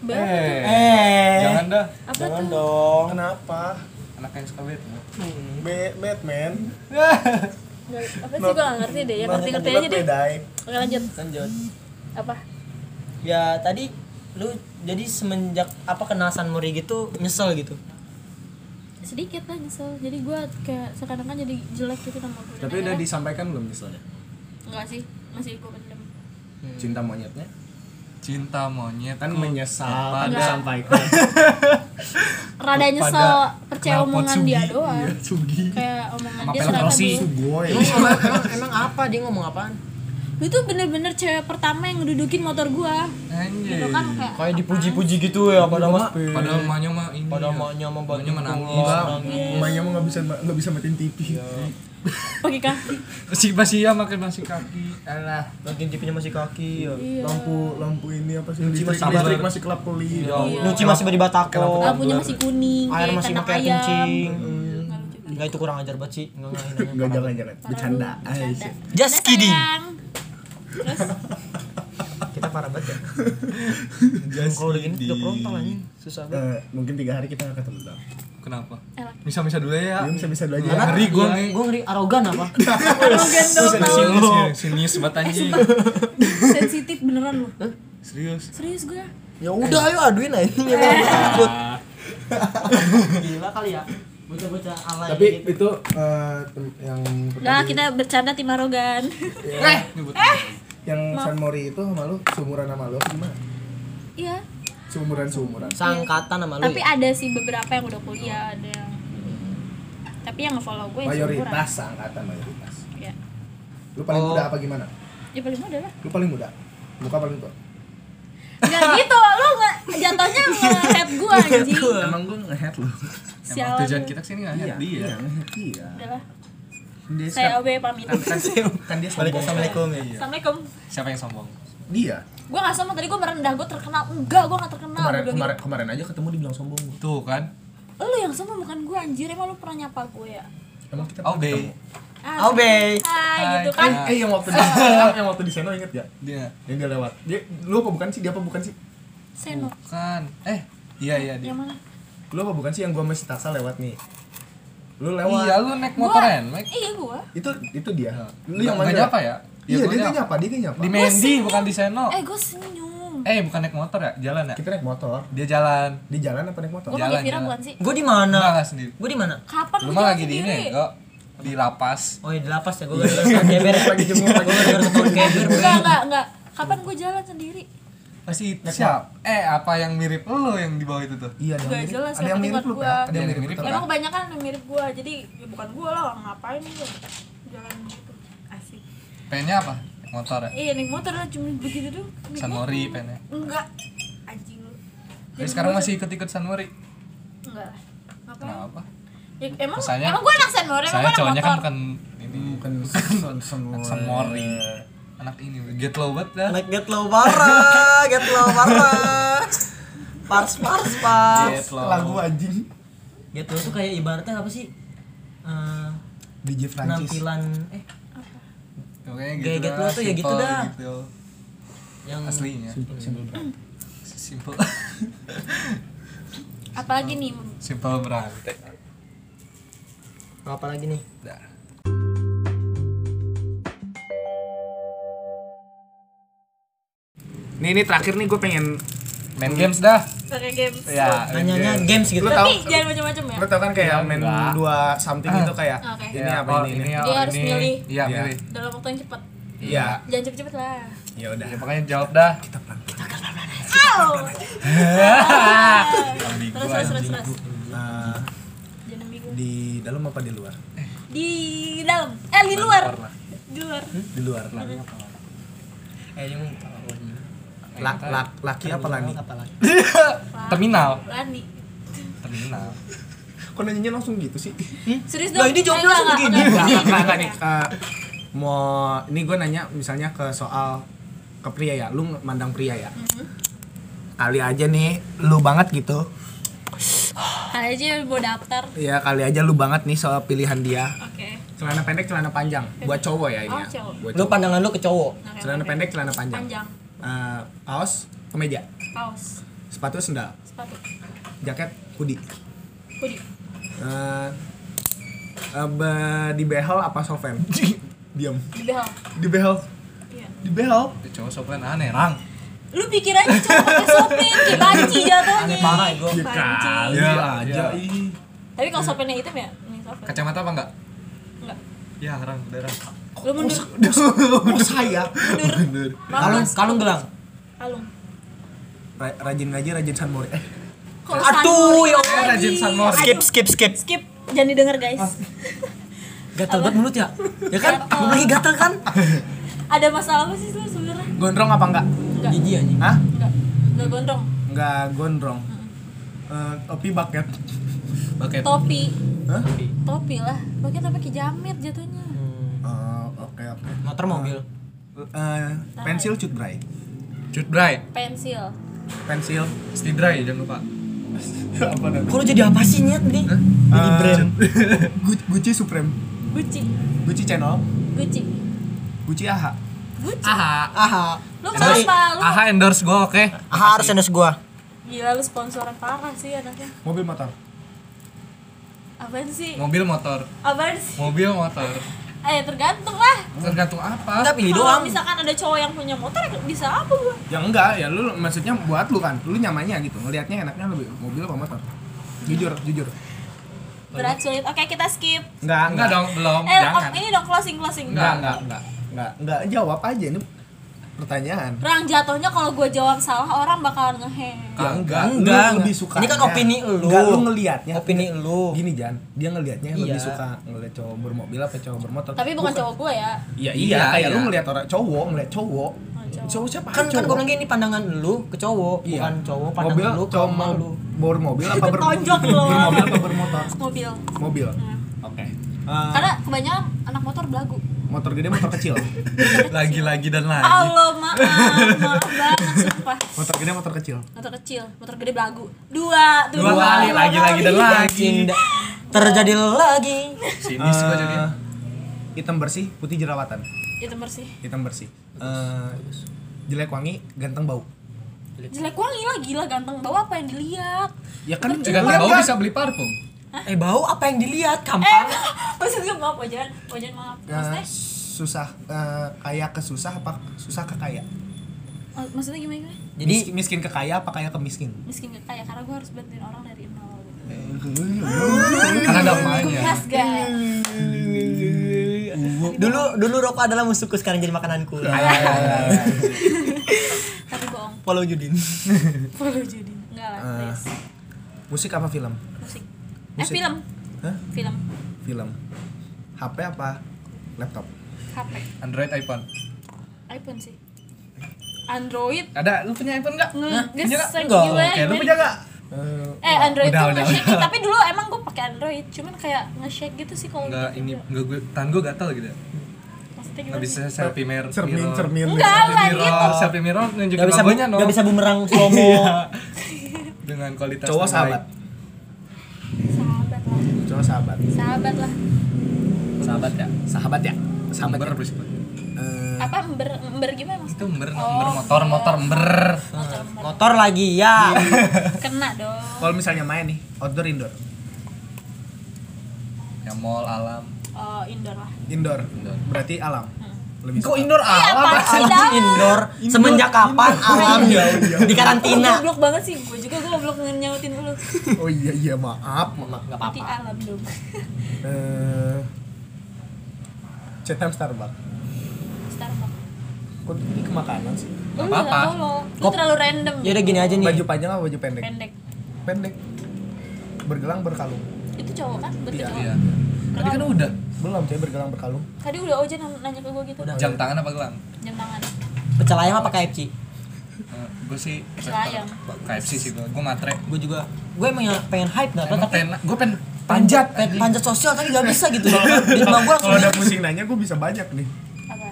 Speaker 5: Ba-
Speaker 8: Eh, jangan dah.
Speaker 5: apa
Speaker 7: Jangan
Speaker 5: tuh
Speaker 7: dong. Kenapa?
Speaker 8: Anak yang suka bed.
Speaker 2: Hmm.
Speaker 7: B Batman.
Speaker 5: Nggak- apa sih gue gak ngerti deh
Speaker 8: Nah,
Speaker 5: ya ngerti ngerti aja deh
Speaker 7: Bedai.
Speaker 5: oke lanjut
Speaker 4: Lanjut.
Speaker 5: apa
Speaker 4: Ya tadi lu jadi semenjak apa kenal Sunmori gitu nyesel gitu.
Speaker 5: sedikit lah nyesel jadi gue kayak sekarang kan jadi jelek gitu nama gue
Speaker 8: Tapi udah disampaikan belum misalnya?
Speaker 2: Hmm.
Speaker 5: enggak sih masih gue pendem
Speaker 8: Cinta monyetnya?
Speaker 3: Cinta monyet
Speaker 8: Kan menyesal, kan
Speaker 3: Pada-
Speaker 8: disampaikan.
Speaker 5: rada nyesel percaya
Speaker 3: knalpot
Speaker 5: omongan
Speaker 3: Sugi.
Speaker 5: dia doang
Speaker 8: Iya, Sugi.
Speaker 5: kayak omongan dia
Speaker 3: pelek
Speaker 5: ternyata
Speaker 3: Rossi.
Speaker 5: dulu
Speaker 2: gitu, Boy.
Speaker 4: Emang, emang, emang- emang apa dia ngomong apaan?
Speaker 5: Lu tuh bener-bener cewek pertama yang ngedudukin motor gua
Speaker 3: Anjir
Speaker 5: Gitu kan kayak
Speaker 6: Kayak dipuji-puji gitu ya pada mas
Speaker 3: Padahal emaknya mah ini
Speaker 6: Pada
Speaker 3: ya.
Speaker 6: emaknya sama
Speaker 3: Emaknya
Speaker 6: banting
Speaker 3: menangis
Speaker 2: Mainnya mah nggak bisa nggak bisa matiin TV.
Speaker 5: pakai kaki
Speaker 3: Si
Speaker 8: ya,
Speaker 3: Basia makin masih kaki Alah
Speaker 6: Banting tipinya masih kaki ya.
Speaker 5: Iya.
Speaker 2: Lampu lampu ini apa sih? Listrik,
Speaker 6: masih
Speaker 2: listrik masih Iya. kelap kulit.
Speaker 5: Iya.
Speaker 6: Nyuci masih beri
Speaker 4: Oh,
Speaker 6: batako
Speaker 5: lampunya masih kuning
Speaker 6: Air
Speaker 5: kayak
Speaker 6: masih
Speaker 5: kandang
Speaker 6: pakai
Speaker 5: ayam.
Speaker 6: kencing
Speaker 5: Nggak lucu.
Speaker 6: Enggak itu kurang ajar banget sih Enggak enggak, enggak.
Speaker 2: Enggak jangan jangan bercanda.
Speaker 5: Bercanda.
Speaker 6: Just
Speaker 5: Udah,
Speaker 6: kidding.
Speaker 5: sayang. Terus
Speaker 6: Kita parah banget ya Kalau udah gini udah ya? frontal anjing Susah banget
Speaker 2: Eh, mungkin tiga hari kita nggak ketemu dah.
Speaker 3: Kenapa?
Speaker 5: Elah.
Speaker 3: Misa-misa dulu ya
Speaker 2: Bisa bisa dulu aja.
Speaker 3: Ngeri gue nih
Speaker 4: Gue ngeri arogan apa?
Speaker 3: Sinis ya, Sinis banget anjing
Speaker 5: sensitif beneran lu
Speaker 3: Serius
Speaker 5: serius gua
Speaker 6: Ya udah ayo aduin aja Emang gua takut Gila kali ya Bocah-bocah alay gitu.
Speaker 2: Tapi itu eh, tem- yang
Speaker 5: Udah kita bercanda tim arogan
Speaker 2: yang San Mori itu sama lu seumuran sama lu apa gimana?
Speaker 5: Iya
Speaker 2: Seumuran seumuran.
Speaker 6: Sangkatan sama lu ya?
Speaker 5: Tapi ada sih beberapa yang udah kuliah Ada yang Tapi yang nge-follow gue yang seumuran.
Speaker 2: Mayoritas angkatan mayoritas.
Speaker 5: Iya
Speaker 2: Lu paling
Speaker 3: Oh.
Speaker 2: muda apa gimana?
Speaker 5: Ya paling muda lah
Speaker 2: Lu paling muda. Muka paling tua.
Speaker 5: Gak gitu Lu gak Jatuhnya nge-head gue anjing
Speaker 2: Emang gua nge-head lu.
Speaker 5: Sialan
Speaker 3: Tujuan
Speaker 5: lu.
Speaker 3: kita kesini nggak happy ya
Speaker 2: Iya.
Speaker 5: Udah lah Saya OB pamit
Speaker 2: Kan dia
Speaker 6: Balik Assalamualaikum ya
Speaker 2: Iya.
Speaker 5: Assalamualaikum
Speaker 3: Siapa yang sombong?
Speaker 2: Dia.
Speaker 5: Gue gak sombong tadi gue merendah Gue terkenal Enggak gue gak terkenal
Speaker 2: Kemarin
Speaker 5: Gua bilang
Speaker 2: kemarin kemarin aja ketemu dibilang sombong. gua.
Speaker 3: Tuh kan
Speaker 5: gitu. Lu yang sombong bukan gue anjir Emang lu pernah nyapa gue ya
Speaker 2: Emang kita
Speaker 3: OB
Speaker 5: Ah,
Speaker 6: Au be
Speaker 5: Hai
Speaker 3: Hai.
Speaker 5: gitu kan
Speaker 2: Eh yang waktu di yang waktu di Seno inget gak?
Speaker 3: Dia
Speaker 2: Yang dia lewat. Dia lu apa bukan sih? Dia apa bukan sih?
Speaker 5: Seno
Speaker 3: Kan Eh Iya iya dia
Speaker 5: Yang mana
Speaker 2: Lu apa bukan sih yang gua masih taksa lewat nih? Lu Nah, lewat.
Speaker 3: Iya lu naik motor Mike
Speaker 5: Iya gue
Speaker 2: Itu itu dia. Lu
Speaker 3: Nggak-
Speaker 2: yang
Speaker 3: nggak
Speaker 2: mana?
Speaker 3: nyapa ya? Iya,
Speaker 2: Iya,
Speaker 3: gua
Speaker 2: dia dia
Speaker 3: nyapa.
Speaker 2: nyapa, dia dia nyapa.
Speaker 3: Di Mendi bukan di Seno
Speaker 5: Eh gue senyum
Speaker 3: Oh. Eh bukan naik motor ya? Jalan ya?
Speaker 2: Kita naik motor.
Speaker 3: Dia jalan
Speaker 2: Di jalan apa naik motor?
Speaker 5: Gue
Speaker 3: Jalan,
Speaker 5: pakai Vira
Speaker 3: jalan.
Speaker 5: bukan sih?
Speaker 6: Gue di
Speaker 3: Enggak
Speaker 6: mana?
Speaker 3: nggak sendiri
Speaker 6: Gue di mana?
Speaker 5: Kapan
Speaker 3: Lu
Speaker 5: gua
Speaker 3: mah
Speaker 5: jalan
Speaker 3: lagi di
Speaker 5: sendiri?
Speaker 3: ini kok Di lapas
Speaker 6: Oh ya di lapas ya, gue gak
Speaker 2: Iya.
Speaker 6: ada keber Lagi jenguk, lagi jenguk Gue keber
Speaker 2: gitu.
Speaker 5: Enggak, enggak, enggak Kapan gue jalan sendiri?
Speaker 3: Pasti siap Eh apa yang mirip lu yang di bawah itu tuh?
Speaker 2: Iya, ada
Speaker 5: Gak
Speaker 2: yang mirip.
Speaker 5: jelas
Speaker 2: Ada
Speaker 5: ya
Speaker 2: yang
Speaker 5: pendengar
Speaker 2: mirip lu,
Speaker 5: gua.
Speaker 2: Kak. Ada yang
Speaker 3: Iya,
Speaker 2: mirip.
Speaker 3: mirip.
Speaker 2: lu, Kak.
Speaker 5: Emang kebanyakan yang mirip gue, jadi ya bukan gue lah, orang ngapain gue Jalan gitu, asik
Speaker 3: Pengennya apa? Naik motor ya?
Speaker 5: Iya, naik motor lah, cuma begitu dong naik
Speaker 3: San
Speaker 5: motor.
Speaker 3: Mori pengennya
Speaker 5: Enggak, anjing lu
Speaker 3: Tapi sekarang masih ikut-ikut San Mori
Speaker 5: Enggak lah Ngapain?
Speaker 3: Kenapa?
Speaker 5: Ya, emang,
Speaker 3: Soalnya-
Speaker 5: emang gue anak San Mori, emang
Speaker 3: Soalnya
Speaker 5: gue
Speaker 3: cowoknya
Speaker 5: anak
Speaker 3: kan
Speaker 5: motor
Speaker 3: bukan ini
Speaker 2: Bukan semua.
Speaker 3: San Mori Anak ini Get low banget dah
Speaker 6: Like get low parah, get low parah Pars, pars, pars
Speaker 2: Lagu anjing.
Speaker 6: Get low tuh kayak ibaratnya apa sih? Eh,
Speaker 2: DJ Francis.
Speaker 6: penampilan eh
Speaker 3: Pokoknya
Speaker 6: Gaya
Speaker 3: gitu
Speaker 6: get low tuh ya gitu
Speaker 3: simple
Speaker 6: dah.
Speaker 3: gitu.
Speaker 6: yang
Speaker 3: Aslinya
Speaker 2: Simple Plan.
Speaker 3: Simple
Speaker 5: Apalagi nih,
Speaker 3: Simple berantai
Speaker 6: apa lagi nih?
Speaker 3: Dah
Speaker 2: Nih ini terakhir nih gue pengen
Speaker 3: Main games dah
Speaker 5: pakai games
Speaker 3: Ya
Speaker 6: Nanyanya games gitu.
Speaker 2: Lu
Speaker 5: Tapi
Speaker 2: tau
Speaker 5: jangan macam-macam ya
Speaker 2: Lu tau kan kayak main
Speaker 3: enggak.
Speaker 2: dua something itu kayak
Speaker 5: Oke.
Speaker 2: Ini apa Ya, ini, Iya, oh, ini
Speaker 5: Dia harus milih.
Speaker 3: Iya
Speaker 2: Iya.
Speaker 3: milih
Speaker 5: Dalam waktu yang cepat
Speaker 2: Iya
Speaker 5: Jangan cepet-cepet lah
Speaker 2: Ya udah
Speaker 3: Ya pokoknya jawab dah
Speaker 5: Au! Terus, terus, terus, terus
Speaker 2: Nah,
Speaker 5: Jangan bingung
Speaker 2: Di dalam apa di luar?
Speaker 5: di dalam eh di luar di luar
Speaker 2: Di luar Hmm?
Speaker 6: Eh, yang
Speaker 2: Lak, lak, Laki apa lani?
Speaker 6: apa lagi?
Speaker 3: Terminal
Speaker 5: Lani
Speaker 3: Terminal
Speaker 2: Kok nanyanya langsung gitu sih?
Speaker 5: serius Eh,
Speaker 6: Lah, ini jawabnya
Speaker 5: Enggak,
Speaker 6: langsung
Speaker 2: Enggak,
Speaker 5: enggak, enggak,
Speaker 2: enggak,
Speaker 5: enggak,
Speaker 2: enggak nih
Speaker 5: enggak.
Speaker 2: Eh, Mau, ini gue nanya misalnya ke soal ke pria ya Lu mandang pria ya
Speaker 5: Mm-hmm.
Speaker 2: Kali aja nih, lu banget gitu
Speaker 5: kali aja mau daftar
Speaker 2: Ya kali aja lu banget nih soal pilihan dia
Speaker 5: oke
Speaker 2: Celana pendek, celana panjang Buat cowok ya ini
Speaker 5: Oh,
Speaker 2: ya.
Speaker 5: cowok.
Speaker 2: Buat
Speaker 6: Lu
Speaker 2: cowok.
Speaker 6: pandangan lu ke cowok.
Speaker 5: Oke,
Speaker 2: Celana
Speaker 5: oke.
Speaker 2: pendek, celana panjang
Speaker 5: panjang
Speaker 2: Eh, Kaos, kemeja
Speaker 5: kaos
Speaker 2: Sepatu, sendal
Speaker 5: sepatu
Speaker 2: Jaket, hoodie
Speaker 5: hoodie
Speaker 2: Eh, eh, be- di behel apa software? Diam.
Speaker 5: di behel
Speaker 2: Di behel.
Speaker 5: iya
Speaker 2: Di behel.
Speaker 3: Itu cowok soplen aneh Rang
Speaker 5: lu pikir aja cowok pakai sopin kayak banci jatuhnya
Speaker 6: Aneh parah, Ego.
Speaker 5: banci
Speaker 2: Iya aja. ih.
Speaker 5: Tapi kalau sopirnya hitam ya, nih sopir.
Speaker 3: Kacamata apa enggak?
Speaker 5: Enggak.
Speaker 3: Ya, orang darah.
Speaker 5: Lu mundur,
Speaker 2: Oh, saya
Speaker 5: mundur.
Speaker 4: Kalung,
Speaker 5: Mampus,
Speaker 4: kalung gelang.
Speaker 5: kalung.
Speaker 2: Ra- rajin ngaji rajin San Mori. Eh,
Speaker 5: Kalau Aduh, ya Allah.
Speaker 3: Rajin San Mori.
Speaker 6: Skip skip skip.
Speaker 5: Skip, jangan didengar guys.
Speaker 4: Gatal banget mulut ya? Ya kan? Belum lagi gatal kan?
Speaker 5: Ada masalah apa sih lu sebenarnya?
Speaker 2: gondrong apa enggak?
Speaker 4: Gigi anjing.
Speaker 2: Hah?
Speaker 5: Enggak, enggak gondrong.
Speaker 2: Enggak gondrong. Eh, topi bucket.
Speaker 3: Pakai
Speaker 5: Topi,
Speaker 2: Hah?
Speaker 5: topi lah. Pakai tapi pakai jamet jatuhnya.
Speaker 2: Oh, oke oke.
Speaker 4: Hmm, Motor mobil.
Speaker 2: Eh, pensil cut dry.
Speaker 3: cut dry,
Speaker 5: Pensil.
Speaker 2: Pensil
Speaker 3: stay dry jangan lupa.
Speaker 2: apa namanya?
Speaker 4: Kok lu jadi apa sih nyet nih?
Speaker 2: Jadi
Speaker 6: Eh,
Speaker 2: brand. Gu- Gucci Supreme.
Speaker 5: Gucci,
Speaker 2: Gucci Channel.
Speaker 5: Gucci.
Speaker 2: Gucci AHA.
Speaker 5: Gucci.
Speaker 3: Aha,
Speaker 2: AHA.
Speaker 5: Lu kenapa? Lu
Speaker 3: aha endorse gua oke.
Speaker 6: Ah, harus endorse gua.
Speaker 5: gila lu sponsoran parah sih anaknya.
Speaker 2: Mobil motor.
Speaker 5: Apaan sih?
Speaker 3: Mobil motor,
Speaker 5: Apaan sih?
Speaker 3: mobil motor.
Speaker 5: Eh tergantung lah.
Speaker 3: Tergantung apa?
Speaker 4: Enggak pilih
Speaker 5: Kalau
Speaker 4: doang.
Speaker 5: misalkan ada cowok yang punya motor bisa apa gua?
Speaker 2: Ya enggak, ya lu maksudnya buat lu kan. Lu nyamannya gitu. Ngelihatnya enaknya lebih mobil apa motor? Jujur, jujur.
Speaker 5: Berat sulit. Oke, kita skip.
Speaker 2: Enggak,
Speaker 3: Enggak dong, belum.
Speaker 5: Eh,
Speaker 3: Jangan.
Speaker 5: ini dong closing closing.
Speaker 2: Enggak, enggak, enggak. Enggak, enggak jawab aja ini pertanyaan.
Speaker 5: Rang jatuhnya kalau gua jawab salah orang bakalan ngehe.
Speaker 2: Ya, enggak, lu
Speaker 4: enggak.
Speaker 2: lebih suka.
Speaker 4: Ini kan
Speaker 6: ya.
Speaker 4: opini lu.
Speaker 2: Enggak, lu ngelihatnya.
Speaker 4: Opini lu.
Speaker 2: Gini Jan, dia ngelihatnya lebih
Speaker 4: Iya.
Speaker 2: suka ngelihat cowok bermobil apa cowok bermotor.
Speaker 5: Tapi bukan cowok gua ya.
Speaker 2: Iya,
Speaker 3: Iya,
Speaker 2: iya, kayak
Speaker 3: iya.
Speaker 2: lu ngelihat orang cowok, ngelihat cowok.
Speaker 5: Oh, cowok.
Speaker 2: Cowok siapa?
Speaker 4: Kan kan
Speaker 2: Cowok.
Speaker 4: gua bilang gini pandangan lu ke cowok,
Speaker 2: Iya.
Speaker 4: bukan cowok
Speaker 2: mobil,
Speaker 4: pandangan lu ke
Speaker 2: cowok
Speaker 4: emak
Speaker 2: mau
Speaker 4: lu.
Speaker 2: bawa mobil apa ber
Speaker 5: Tonjok lu.
Speaker 2: bermobil apa bermotor?
Speaker 5: Mobil.
Speaker 2: Mobil. Oke. Eh,
Speaker 5: Karena kebanyakan anak motor belagu.
Speaker 2: motor gede, motor kecil.
Speaker 3: Lagi-lagi dan lagi.
Speaker 5: Allah maaf, maaf banget sumpah.
Speaker 2: Motor gede, motor kecil.
Speaker 5: Motor kecil, motor gede belagu. Dua, tuh,
Speaker 3: Dua kali, lagi-lagi dan
Speaker 5: Iya,
Speaker 3: lagi.
Speaker 4: Cinta terjadi lagi.
Speaker 3: Sini sih gua
Speaker 2: Eh,
Speaker 3: jadi.
Speaker 2: Hitam bersih, putih jerawatan.
Speaker 5: Itu bersih.
Speaker 2: Hitam bersih. Eh, jelek wangi, ganteng bau.
Speaker 5: Jelek wangi lah gila ganteng. Bawa apa yang dilihat?
Speaker 2: Ya kan
Speaker 3: Jika
Speaker 2: jelek
Speaker 3: bau
Speaker 2: kan?
Speaker 3: bisa beli parfum.
Speaker 4: Eh bau apa yang dilihat?
Speaker 5: Eh,
Speaker 4: Kampang.
Speaker 5: maksud gue maaf wajan, wajan maaf.
Speaker 3: Ya.
Speaker 2: Eh,
Speaker 5: Maksudnya,
Speaker 2: susah eh, kaya ke susah apa susah ke kaya?
Speaker 5: oh, maksudnya gimana gimana?
Speaker 2: Jadi miskin ke kaya apa kaya ke miskin?
Speaker 5: Miskin gak kaya karena gue harus bantuin orang dari nol. gitu.
Speaker 3: Karena ada Iya. emaknya.
Speaker 5: Gas guys.
Speaker 4: Dulu dulu rokok adalah musuhku sekarang jadi makananku.
Speaker 3: Eh,
Speaker 5: Tapi bohong.
Speaker 4: Follow Judin.
Speaker 5: Follow Judy. Enggak lah,
Speaker 3: Eh.
Speaker 5: please.
Speaker 2: Musik apa film?
Speaker 5: Musik. Eh
Speaker 2: musik.
Speaker 5: film.
Speaker 2: Hah?
Speaker 5: Film.
Speaker 2: Film. HP apa? Laptop.
Speaker 5: HP.
Speaker 3: Android iPhone.
Speaker 5: iPhone sih. Android.
Speaker 3: Ada lu punya iPhone enggak?
Speaker 5: Ngegesek
Speaker 4: Enggak.
Speaker 5: gue.
Speaker 3: Oke, lu punya enggak?
Speaker 4: Iya.
Speaker 5: Eh Android
Speaker 3: Udah,
Speaker 5: tuh
Speaker 3: udah,
Speaker 5: nge-shake Tapi dulu emang gue pakai Android Cuman kayak nge-shake gitu sih kalau
Speaker 3: Enggak,
Speaker 5: gitu.
Speaker 3: ini enggak gue tangan gue gatal gitu.
Speaker 5: Maksudnya
Speaker 3: Enggak
Speaker 5: gimana?
Speaker 3: bisa selfie mirror.
Speaker 2: Cermin,
Speaker 3: mirror.
Speaker 2: cermin.
Speaker 5: Enggak, bukan
Speaker 3: Selfie
Speaker 5: gitu
Speaker 3: mirror, selfie mirror nunjukin
Speaker 4: Gak bisa
Speaker 3: logonya dong.
Speaker 4: gak bisa bumerang slow
Speaker 3: Iya.
Speaker 4: mo.
Speaker 3: dengan kualitas
Speaker 2: Cowok
Speaker 3: terbaik.
Speaker 2: sahabat.
Speaker 5: Sahabat lah
Speaker 2: Cowok sahabat.
Speaker 5: Sahabat lah
Speaker 4: Iya.
Speaker 2: Sahabat ya. Sahabat ya. Sahabat
Speaker 3: Ember
Speaker 2: ya.
Speaker 3: berisik banget.
Speaker 2: Eh,
Speaker 5: Apa ember, ember gimana
Speaker 3: Itu
Speaker 5: maksudnya?
Speaker 3: ember,
Speaker 5: Oh,
Speaker 3: ember motor, motor ember.
Speaker 5: Motor ember.
Speaker 4: Motor lagi ya.
Speaker 5: Kena dong
Speaker 2: kalau misalnya main nih outdoor indoor.
Speaker 3: Ya mall alam.
Speaker 5: Oh indoor lah
Speaker 2: Indoor.
Speaker 3: Indoor.
Speaker 2: Berarti alam. Lebih
Speaker 3: Kok
Speaker 2: suka.
Speaker 3: indoor alam?
Speaker 5: Pasti
Speaker 4: Alam indoor semenjak kapan alam di karantina?
Speaker 5: Goblok banget sih Gue juga gue goblok nyautin dulu
Speaker 2: Oh iya iya maaf maaf.
Speaker 4: Gak
Speaker 5: Nanti
Speaker 4: apa-apa.
Speaker 5: alam dong
Speaker 2: Eh, cetam Starbucks.
Speaker 5: Starbucks
Speaker 2: Kok ini ke makanan sih?
Speaker 5: Lu
Speaker 3: Apa-apa.
Speaker 5: gak tau lo Lu terlalu random gitu.
Speaker 4: Ya udah gini aja nih.
Speaker 2: Baju panjang apa baju pendek?
Speaker 5: Pendek
Speaker 2: Pendek. Bergelang berkalung.
Speaker 5: Itu cowok kan? Berarti
Speaker 2: Iya,
Speaker 5: cowok
Speaker 3: Iya. Tadi kan udah
Speaker 2: Belum saya bergelang berkalung.
Speaker 5: Tadi udah Ojan nanya ke gue gitu
Speaker 3: jam tangan apa gelang?
Speaker 5: Jam tangan
Speaker 4: Pecel ayam apa KFC?
Speaker 3: Eh, gue sih
Speaker 5: Sayang.
Speaker 3: KFC sih gue. Gue matre.
Speaker 4: Gue juga. Gue emang yang pengen hype gak
Speaker 3: Emang
Speaker 4: apa tapi
Speaker 3: pengen, gue pengen
Speaker 4: panjat pengen Eh, panjat sosial tapi gak bisa gitu. Di rumah gue langsung
Speaker 2: Kalau ada pusing nanya gue bisa banyak nih.
Speaker 5: Apa?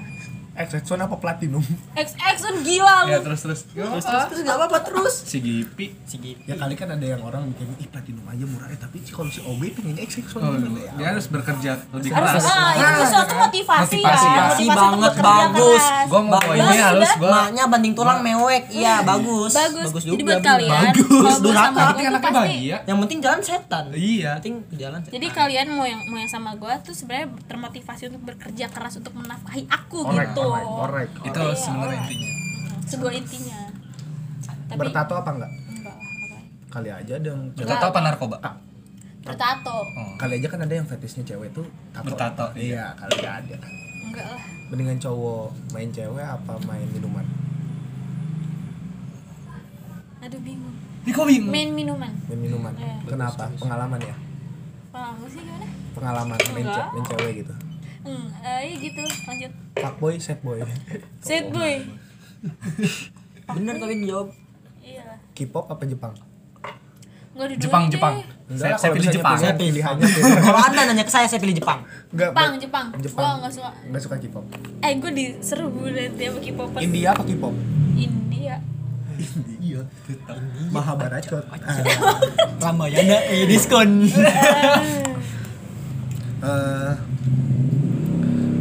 Speaker 2: Exxon apa platinum?
Speaker 5: X X gila lu
Speaker 3: ya terus terus. Terus
Speaker 4: terus gak apa-apa terus.
Speaker 3: Si Gipi.
Speaker 2: ya kali kan ada yang orang mikirnya ih platinum aja murah eh tapi kalau si OB pengennya Exxon
Speaker 3: Oh,
Speaker 2: gitu ya.
Speaker 3: dia harus bekerja lebih
Speaker 5: harus
Speaker 3: keras.
Speaker 5: ah, itu suatu motivasi,
Speaker 3: Motivasi,
Speaker 5: kan
Speaker 3: ya.
Speaker 4: Pasti
Speaker 5: untuk
Speaker 4: banget
Speaker 5: bekerja
Speaker 4: bagus.
Speaker 5: keras.
Speaker 3: Gue mau
Speaker 4: Bagus. iya kan?
Speaker 3: poinnya harus gue
Speaker 4: Maknya banting tulang mewek. Iya, bagus.
Speaker 5: bagus, jadi
Speaker 4: juga.
Speaker 5: buat kalian kalau gue
Speaker 3: durhaka. Tapi
Speaker 5: sama gue tuh kan-
Speaker 3: anaknya
Speaker 5: pasti
Speaker 3: bahagia.
Speaker 4: Yang penting jalan setan.
Speaker 3: Iya.
Speaker 4: Yang penting jalan setan.
Speaker 5: jadi kalian mau yang mau yang sama gue tuh sebenarnya termotivasi untuk bekerja keras untuk menafkahi aku
Speaker 2: Korek,
Speaker 5: gitu
Speaker 2: korek, korek.
Speaker 3: Itu sebenarnya intinya.
Speaker 5: Iya. sebuah intinya tapi
Speaker 2: Bertato apa enggak?
Speaker 5: enggak lah, apa-apa.
Speaker 2: Kali aja ada yang
Speaker 3: Bertato apa narkoba?
Speaker 5: bertato tato.
Speaker 2: Kali aja kan ada yang fetishnya cewek tuh tato.
Speaker 9: Bertato,
Speaker 2: Iya, kali aja ada.
Speaker 5: Enggak lah.
Speaker 2: Mendingan cowok main cewek apa main minuman?
Speaker 5: Aduh bingung.
Speaker 9: Ih, kok bingung?
Speaker 5: Main minuman.
Speaker 2: Main minuman. Kenapa? Pengalaman ya?
Speaker 5: Paham sih gimana?
Speaker 2: Pengalaman main, ce- main cewek gitu.
Speaker 5: Hmm, eh iya gitu. Lanjut.
Speaker 2: Fuckboy, sad boy.
Speaker 5: Set boy.
Speaker 4: Bener tapi jawab.
Speaker 5: Iya.
Speaker 2: K-pop apa Jepang?
Speaker 5: Enggak ada
Speaker 3: Jepang,
Speaker 5: duit
Speaker 3: Jepang.
Speaker 5: deh.
Speaker 2: Enggak lah,
Speaker 3: saya
Speaker 2: kalau
Speaker 3: pilih
Speaker 2: misalnya
Speaker 3: Jepang.
Speaker 2: pilihan- Pilihannya
Speaker 4: Kalau Anda nanya ke saya saya pilih Jepang.
Speaker 2: Enggak,
Speaker 5: Jepang, Jepang.
Speaker 2: Jepang.
Speaker 5: Gua enggak suka.
Speaker 2: Enggak suka K-pop.
Speaker 5: Eh, gua diserbu nanti sama K-popers
Speaker 2: India apa K-pop?
Speaker 5: India.
Speaker 2: Iya, Mahabharata.
Speaker 4: Ramayana eh
Speaker 2: Eh,
Speaker 4: diskon.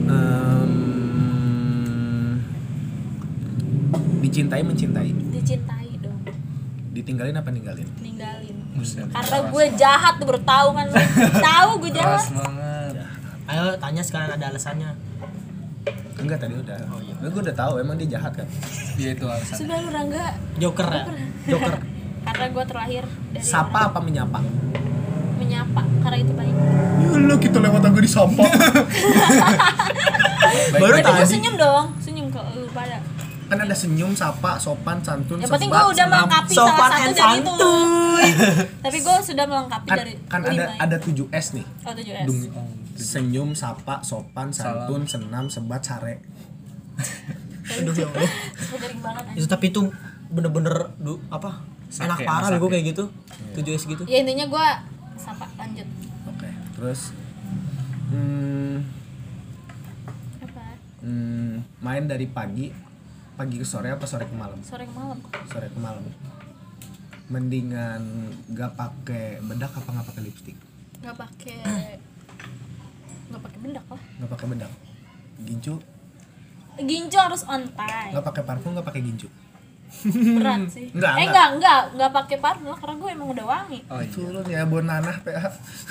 Speaker 2: em, dicintai mencintai
Speaker 5: Dicintai dong,
Speaker 2: ditinggalin apa ninggalin
Speaker 5: ninggalin. Karena gue jahat tuh baru tahu kan. lu. tahu gue jahat.
Speaker 4: Ayo tanya sekarang ada alasannya.
Speaker 2: enggak tadi udah oh,
Speaker 5: iya.
Speaker 2: gue udah tahu emang dia jahat kan
Speaker 3: Iya itu alasan.
Speaker 5: Sudah lu Rangga,
Speaker 4: Joker ya. Joker.
Speaker 5: karena gue terlahir dari
Speaker 2: sapa apa menyapa
Speaker 5: orang- menyapa karena itu baik.
Speaker 2: lu gitu lewat aku di sampah
Speaker 4: Baru
Speaker 5: Ya, Tapi gue
Speaker 4: tadi
Speaker 5: senyum dong, senyum ke lu pada.
Speaker 2: kan ada senyum sapa sopan santun
Speaker 5: Yang Ya, penting gue
Speaker 2: sebat,
Speaker 5: udah
Speaker 2: senam.
Speaker 5: melengkapi salah
Speaker 4: sopan and
Speaker 5: satu dari itu.
Speaker 4: santuy.
Speaker 5: Tapi gue sudah melengkapi
Speaker 2: kan,
Speaker 5: dari
Speaker 2: kan ada
Speaker 5: lima ya.
Speaker 2: ada 7 S nih
Speaker 5: Oh, 7S.
Speaker 2: Dung- senyum sapa sopan santun senam sebat sare ya
Speaker 5: Gue garing banget. anjing.
Speaker 4: Itu tapi itu bener-bener du, apa? enak parah gue kayak gitu. Tujuh S gitu.
Speaker 5: Ya intinya gue sapa lanjut.
Speaker 2: oke terus hmm,
Speaker 5: Apa?
Speaker 2: Hmm, main dari pagi pagi ke sore apa sore ke malam
Speaker 5: Sore ke malam.
Speaker 2: sore ke malam mendingan gak pakai bedak apa nggak pakai lipstick
Speaker 5: Gak pakai nggak pakai bedak lah.
Speaker 2: nggak pakai bedak gincu
Speaker 5: Gincu harus on time.
Speaker 2: nggak pakai parfum nggak pakai gincu
Speaker 5: berat sih
Speaker 2: Enggak, enggak.
Speaker 5: eh enggak enggak enggak pakai parfum lah karena gue emang udah wangi
Speaker 3: Oh,
Speaker 2: itu lu ya bonanah PH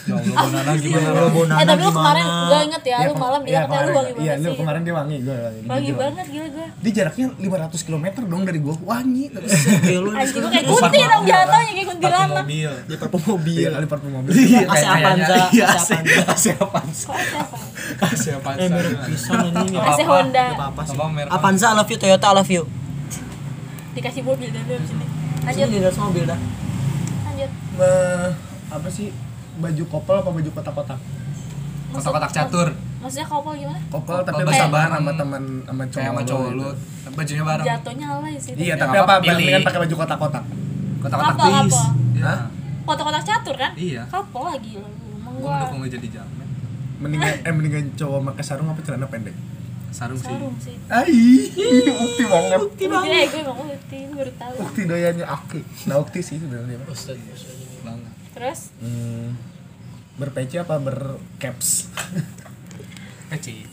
Speaker 3: Ya Allah, Bonana iya. gimana lo?
Speaker 5: eh tapi lu kemarin gue inget ya, lu
Speaker 2: kema-
Speaker 5: malam dia
Speaker 2: iya,
Speaker 5: katanya lu wangi
Speaker 2: kemarin- iya
Speaker 5: banget
Speaker 2: lu
Speaker 5: sih
Speaker 2: kemarin dia wangi gue wangi dia
Speaker 5: wangi
Speaker 2: wangi.
Speaker 5: banget gila gue
Speaker 2: dia jaraknya 500 km dong dari gua wangi terus
Speaker 4: Kayak lu
Speaker 5: Iya. anjing gue kayak kunti dong jatuhnya kayak kuntilanak
Speaker 9: mobil
Speaker 2: di parfum mobil Iya,
Speaker 5: Iya.
Speaker 2: kali parfum mobil
Speaker 3: Iya,
Speaker 4: AC Avanza, AC Avanza.
Speaker 5: siapa
Speaker 3: Siapa
Speaker 4: Eh, baru pisang anjing ya.
Speaker 5: AC Honda
Speaker 4: Apa sih?
Speaker 3: Apa merek?
Speaker 4: Avanza I love you, Toyota I love you.
Speaker 5: dikasih mobil dari dalam sini lanjut
Speaker 4: Ini di atas mobil dah.
Speaker 5: lanjut
Speaker 2: Me- apa sih baju kopel apa baju kotak-kotak
Speaker 3: Kotak-kotak catur.
Speaker 5: maksudnya kopel gimana
Speaker 2: kopel tapi
Speaker 3: Kopel
Speaker 2: lu
Speaker 3: kayak-
Speaker 2: sabaran sama teman sama cowok
Speaker 3: Kayak sama
Speaker 2: lu
Speaker 3: cowok
Speaker 2: gitu.
Speaker 3: lu. Bajunya bareng.
Speaker 5: jatuhnya alay sih
Speaker 2: Iya,
Speaker 3: Ya,
Speaker 2: tapi
Speaker 3: nggak
Speaker 2: apa
Speaker 3: apa-apa, pilih.
Speaker 2: mendingan pakai baju kotak-kotak?
Speaker 3: Kotak-kotak
Speaker 5: Kapal,
Speaker 3: bis.
Speaker 5: kapal.
Speaker 3: Iya.
Speaker 5: kotak-kotak catur kan
Speaker 3: Iya.
Speaker 5: kopel lagi lu emang
Speaker 3: Gue
Speaker 5: gue
Speaker 3: mendukung lo jadi jamin.
Speaker 2: Mendingan eh mendingan cowok pakai sarung apa celana pendek?
Speaker 3: Sarung sih.
Speaker 5: sarung sih
Speaker 2: Ai, ukti banget.
Speaker 5: Ukti eh gue emang ukti gue baru tahu
Speaker 2: Ukti doyannya aki. Nah, ukti sih sebenarnya.
Speaker 3: Banget.
Speaker 5: terus
Speaker 2: Hmm, berpeci apa bercaps?
Speaker 3: Kecil.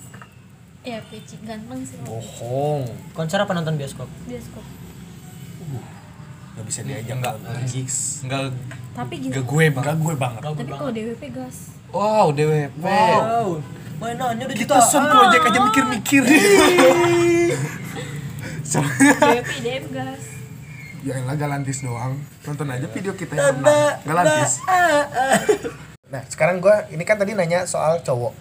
Speaker 5: ya peci ganteng sih lu.
Speaker 2: Bohong.
Speaker 4: Konser apa nonton bioskop?
Speaker 5: bioskop
Speaker 2: Gak bisa diajak
Speaker 3: Enggak. Enggak.
Speaker 5: tapi gini
Speaker 3: Enggak gue banget.
Speaker 2: Enggak gue banget.
Speaker 5: tapi kalau DWP gas
Speaker 3: Wow, DWP.
Speaker 4: Eh. Wow. Mainannya Oh. udah gitu.
Speaker 2: Sun project aja mikir-mikir.
Speaker 5: DWP DWP gas
Speaker 2: ya elah galantis doang. Nonton aja video kita yang menang. Galantis. Nah, sekarang gue ini kan tadi nanya soal cowok.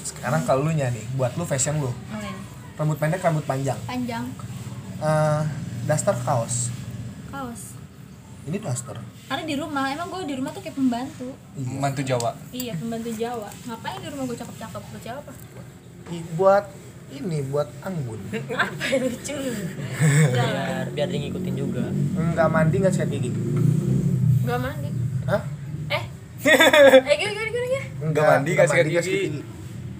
Speaker 2: Sekarang kalau lu nya nih, buat lu fashion lu.
Speaker 5: Oh, iya.
Speaker 2: Rambut pendek, rambut panjang.
Speaker 5: panjang
Speaker 2: eh daster kaos
Speaker 5: kaos
Speaker 2: ini daster
Speaker 5: karena di rumah emang gue di rumah tuh kayak pembantu
Speaker 3: Mantu Jawa.
Speaker 5: iya pembantu Jawa ngapain di rumah gue cakep cakep gue siapa
Speaker 2: Ih, buat ini buat anggun
Speaker 5: apa yang lucu lu
Speaker 4: Biar biar dia ngikutin juga.
Speaker 2: nggak mandi nggak sikat gigi
Speaker 5: gak mandi
Speaker 2: Hah?
Speaker 5: eh eh gini gini gini gini
Speaker 2: nggak
Speaker 9: mandi, nggak sikat gigi.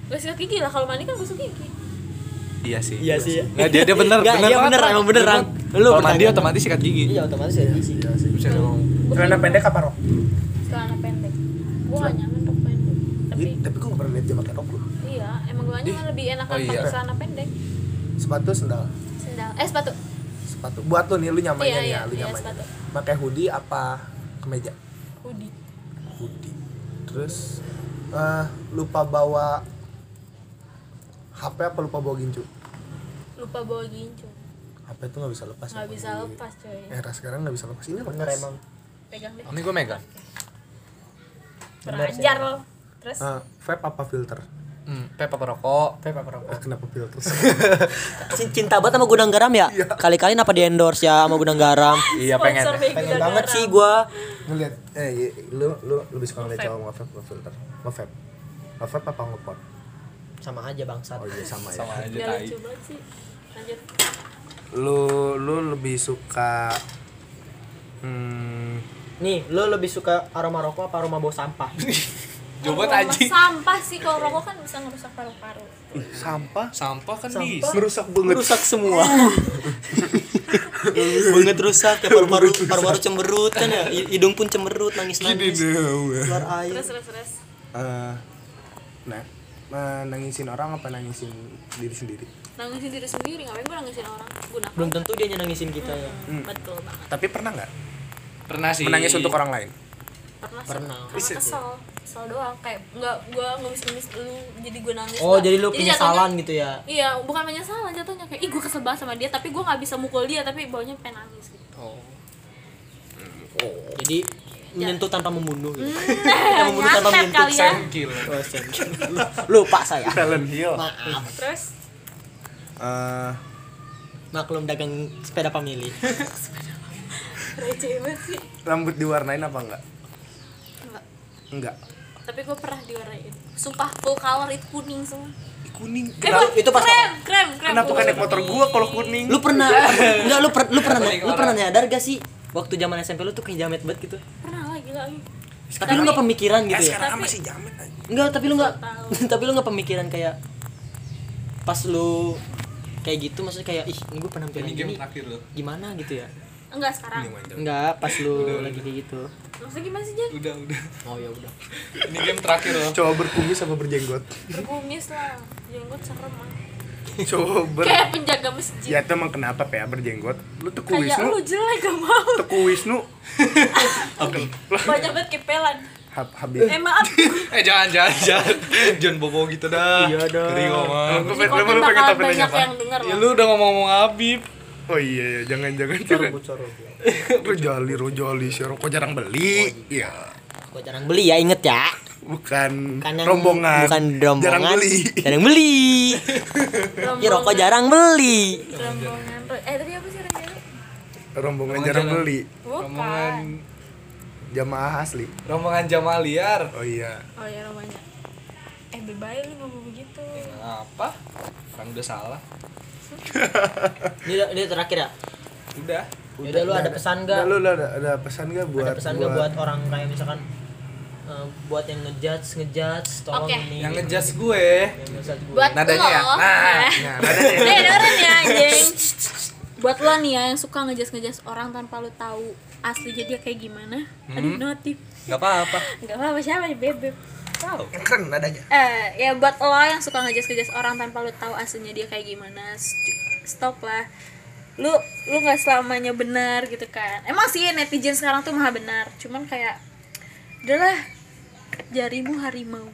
Speaker 5: gue sikat gigi lah kalau mandi kan gue sikat gigi
Speaker 3: Iya sih.
Speaker 4: Iya sih.
Speaker 3: Nah, dia dia bener,
Speaker 4: Nggak,
Speaker 3: bener
Speaker 4: iya
Speaker 3: banget,
Speaker 4: bener,
Speaker 3: Rang.
Speaker 4: emang bener, Rang. Lu
Speaker 3: Kalau mandi
Speaker 4: pertanyaan.
Speaker 3: otomatis sikat gigi.
Speaker 4: Iya otomatis ya.
Speaker 3: Bisa dong.
Speaker 2: celana pendek apa rok
Speaker 5: celana pendek gue gak nyaman rok pendek tapi
Speaker 2: Ih, tapi gue nggak pernah lihat dia pakai rok loh
Speaker 5: iya emang gue nyaman lebih enak
Speaker 3: Oh, iya.
Speaker 5: pakai celana pendek
Speaker 2: sepatu sendal
Speaker 5: sendal eh sepatu
Speaker 2: sepatu buat lu nih lu nyamannya
Speaker 5: Iya,
Speaker 2: nih ya
Speaker 5: iya,
Speaker 2: lu
Speaker 5: iya,
Speaker 2: nyamannya
Speaker 5: sepatu.
Speaker 2: pakai hoodie apa kemeja
Speaker 5: hoodie
Speaker 2: hoodie terus eh, lupa bawa HP apa lupa bawa gincu
Speaker 5: lupa bawa gincu
Speaker 2: HP itu nggak bisa lepas
Speaker 5: nggak
Speaker 2: ya,
Speaker 5: bisa
Speaker 2: di
Speaker 5: lepas coy
Speaker 2: era sekarang nggak bisa lepas ini bener emang
Speaker 5: pegang deh
Speaker 3: Ini gue megang.
Speaker 10: belajar lo terus
Speaker 2: Eh, vape apa filter?
Speaker 3: Hmm, vape apa rokok?
Speaker 2: Vape apa rokok? Kenapa filter?
Speaker 4: Cinta banget sama Gudang Garam ya? Kali-kali apa di endorse ya sama Gudang Garam?
Speaker 3: Iya pengen.
Speaker 10: Sponsor Bego
Speaker 4: Pengen
Speaker 10: Dara.
Speaker 4: banget sih gua.
Speaker 2: Ngeliat, eh y- lu lu lebih suka ngeliat cowok nge-vape nge filter? Nge-vape. Nge-vape apa ngepot?
Speaker 4: Sama aja bangsat.
Speaker 2: Oh iya sama ya.
Speaker 5: Gak lucu banget sih lanjut
Speaker 2: Lu lu lebih suka hmm,
Speaker 4: Nih, lu lebih suka aroma rokok apa aroma bau sampah?
Speaker 3: Coba
Speaker 10: Aroma
Speaker 3: taji.
Speaker 10: sampah sih kalau rokok kan bisa ngerusak paru-paru
Speaker 2: ih, sampah
Speaker 3: Sampah kan di
Speaker 2: merusak banget.
Speaker 4: rusak semua. Banget rusak ya paru-paru paru-paru cemberut kan ya. hi- Hidung pun cemberut nangis-nangis. Keluar air.
Speaker 10: terus terus terus
Speaker 2: Eh, nah, eh, nangisin orang apa nangisin diri sendiri?
Speaker 5: nangisin diri sendiri ngapain gue nangisin orang Hmm. guna
Speaker 4: Belum tentu dia nyenengisin kita ya.
Speaker 5: betul banget
Speaker 2: Tapi pernah nggak
Speaker 3: pernah sih.
Speaker 2: menangis untuk orang lain?
Speaker 5: pernah sih
Speaker 4: Pernah.
Speaker 5: karena kesel kesel doang kayak nggak gue ngemis-ngemis lu jadi gue nangis
Speaker 4: Oh,
Speaker 5: nggak.
Speaker 4: jadi lu
Speaker 5: jatuhnya-
Speaker 4: penyesalan gitu ya.
Speaker 5: iya bukan penyesalan jatuhnya kayak ih gue kesel banget sama dia tapi gue nggak bisa mukul dia tapi baunya pengen nangis gitu
Speaker 4: Oh. Jadi menyentuh tanpa membunuh gitu.
Speaker 5: nah,
Speaker 4: membunuh tanpa
Speaker 5: nyatet
Speaker 4: menyentuh,
Speaker 5: kali ya
Speaker 3: Gokil.
Speaker 4: Oh, sen. Lupa saya.
Speaker 2: Talent Hill.
Speaker 5: terus
Speaker 2: Eh,
Speaker 4: Maklum dagang sepeda pamili.
Speaker 5: receh banget sih
Speaker 2: rambut diwarnain apa enggak? Enggak.
Speaker 5: tapi gue pernah diwarnain sumpah full color itu kuning semua
Speaker 2: Kuning.
Speaker 4: Kenapa- itu pas
Speaker 5: krem krem krem
Speaker 2: Kenapa kan
Speaker 5: kuning.
Speaker 2: naik motor gua kalau kuning?
Speaker 4: Lu pernah enggak lu per- lu pernah lu pernah nyadar gak sih waktu zaman SMP lu tuh kayak jamet banget gitu.
Speaker 5: pernah lagi lagi
Speaker 4: Tapi lu gak pemikiran gitu ya.
Speaker 2: sekarang kan masih jamet aja.
Speaker 4: Enggak, tapi lu enggak tapi lu enggak pemikiran kayak pas lu kayak gitu maksudnya kayak ih, ini gue penampilan
Speaker 3: Ini game
Speaker 4: gini
Speaker 3: terakhir lo.
Speaker 4: gimana gitu ya?
Speaker 5: enggak sekarang
Speaker 4: Enggak, pas lu lagi kayak gitu.
Speaker 5: maksudnya gimana sih Jan?
Speaker 3: Udah udah.
Speaker 4: Oh ya udah.
Speaker 3: Ini game terakhir lo.
Speaker 2: Coba berkumis sama berjenggot.
Speaker 5: berkumis lah jenggot serem ah
Speaker 2: Coba ber
Speaker 5: kayak penjaga masjid
Speaker 2: Ya tuh emang kenapa ya berjenggot? Lu tuh kuis
Speaker 5: kayak lu
Speaker 2: nu,
Speaker 5: jelek gak mau
Speaker 2: tuh kuis nu.
Speaker 5: banyak banget kepelan
Speaker 2: Hab habis.
Speaker 5: eh maaf
Speaker 3: Eh jangan jangan jangan. jangan bobo gitu dah. Iya dah. Kering omongan.
Speaker 2: Lu
Speaker 5: ini
Speaker 2: pengen-
Speaker 5: konten
Speaker 2: lu pengen
Speaker 5: bakal
Speaker 2: tampilin
Speaker 5: banyak
Speaker 2: apa?
Speaker 5: yang denger
Speaker 3: Ya
Speaker 5: loh
Speaker 3: lu udah ngomong-ngomong Habib.
Speaker 2: Oh iya, iya jangan-jangan jangan. Rojali, rojali, si orang kok jarang
Speaker 4: Oh,
Speaker 2: beli. Iya.
Speaker 4: Gua jarang beli ya, inget ya.
Speaker 2: Bukan,
Speaker 4: Bukan yang-
Speaker 2: rombongan.
Speaker 4: Bukan rombongan.
Speaker 2: Jarang beli.
Speaker 4: Jarang beli. Ih, Iya, rokok jarang beli.
Speaker 5: rombongan Roy. eh tadi apa sih rencananya
Speaker 2: Rombongan jarang beli.
Speaker 5: bukan
Speaker 3: Rombongan
Speaker 2: Jamaah asli.
Speaker 3: rombongan jamaah liar.
Speaker 2: Oh iya.
Speaker 5: oh ya romanya eh bebay lu ngomong begitu
Speaker 3: Apa? Kan udah salah.
Speaker 4: Ini ini terakhir ya.
Speaker 3: Udah.
Speaker 4: Udah, lu ada pesan
Speaker 2: Nah,
Speaker 4: gak?
Speaker 2: lu lu ada, ada pesan gak buat
Speaker 4: ada pesan gak buat orang kayak misalkan eh, buat yang ngejudge ngejudge tolong
Speaker 5: Oke.
Speaker 4: ini
Speaker 3: Yang ngejudge gue.
Speaker 4: yang ngejudge gue.
Speaker 5: buat
Speaker 3: Nadanya ya?
Speaker 5: lo
Speaker 3: Nah,
Speaker 2: Nah, ada ya?
Speaker 5: eh dengerin ya anjing buat lo nih ya yang suka ngejas ngejas orang tanpa lo tahu aslinya dia kayak gimana
Speaker 2: Hmm.
Speaker 5: aduh notif
Speaker 3: Gak apa-apa.
Speaker 5: nggak apa-apa siapa nih bebek
Speaker 2: Yang keren nadanya.
Speaker 5: eh ya buat lo yang suka ngejas ngejas orang tanpa lo tahu aslinya dia kayak gimana stu- stop lah lu lu nggak selamanya benar gitu kan emang sih netizen sekarang tuh maha benar cuman kayak adalah jarimu harimaumu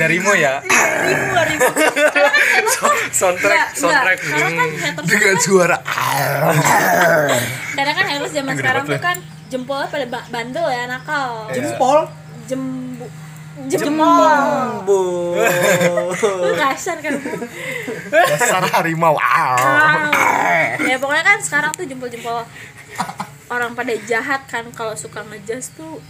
Speaker 3: Jarimu ya.
Speaker 5: jarimu harimau karena kan emang
Speaker 2: Soundtrack,
Speaker 5: Nggak,
Speaker 2: soundtrack.
Speaker 5: nggak.
Speaker 4: Hmm.
Speaker 5: Karena kan haters
Speaker 2: Dengan suara
Speaker 5: Karena kan harus zaman sekarang tuh kan jempolnya pada ba- bandel ya nakal.
Speaker 4: jempol
Speaker 5: Jembu jempol.
Speaker 4: bu
Speaker 5: Lu kasar kan. Bu.
Speaker 2: dasar harimau.
Speaker 5: ya pokoknya kan sekarang tuh jempol-jempol orang pada jahat kan kalau suka ngejas tuh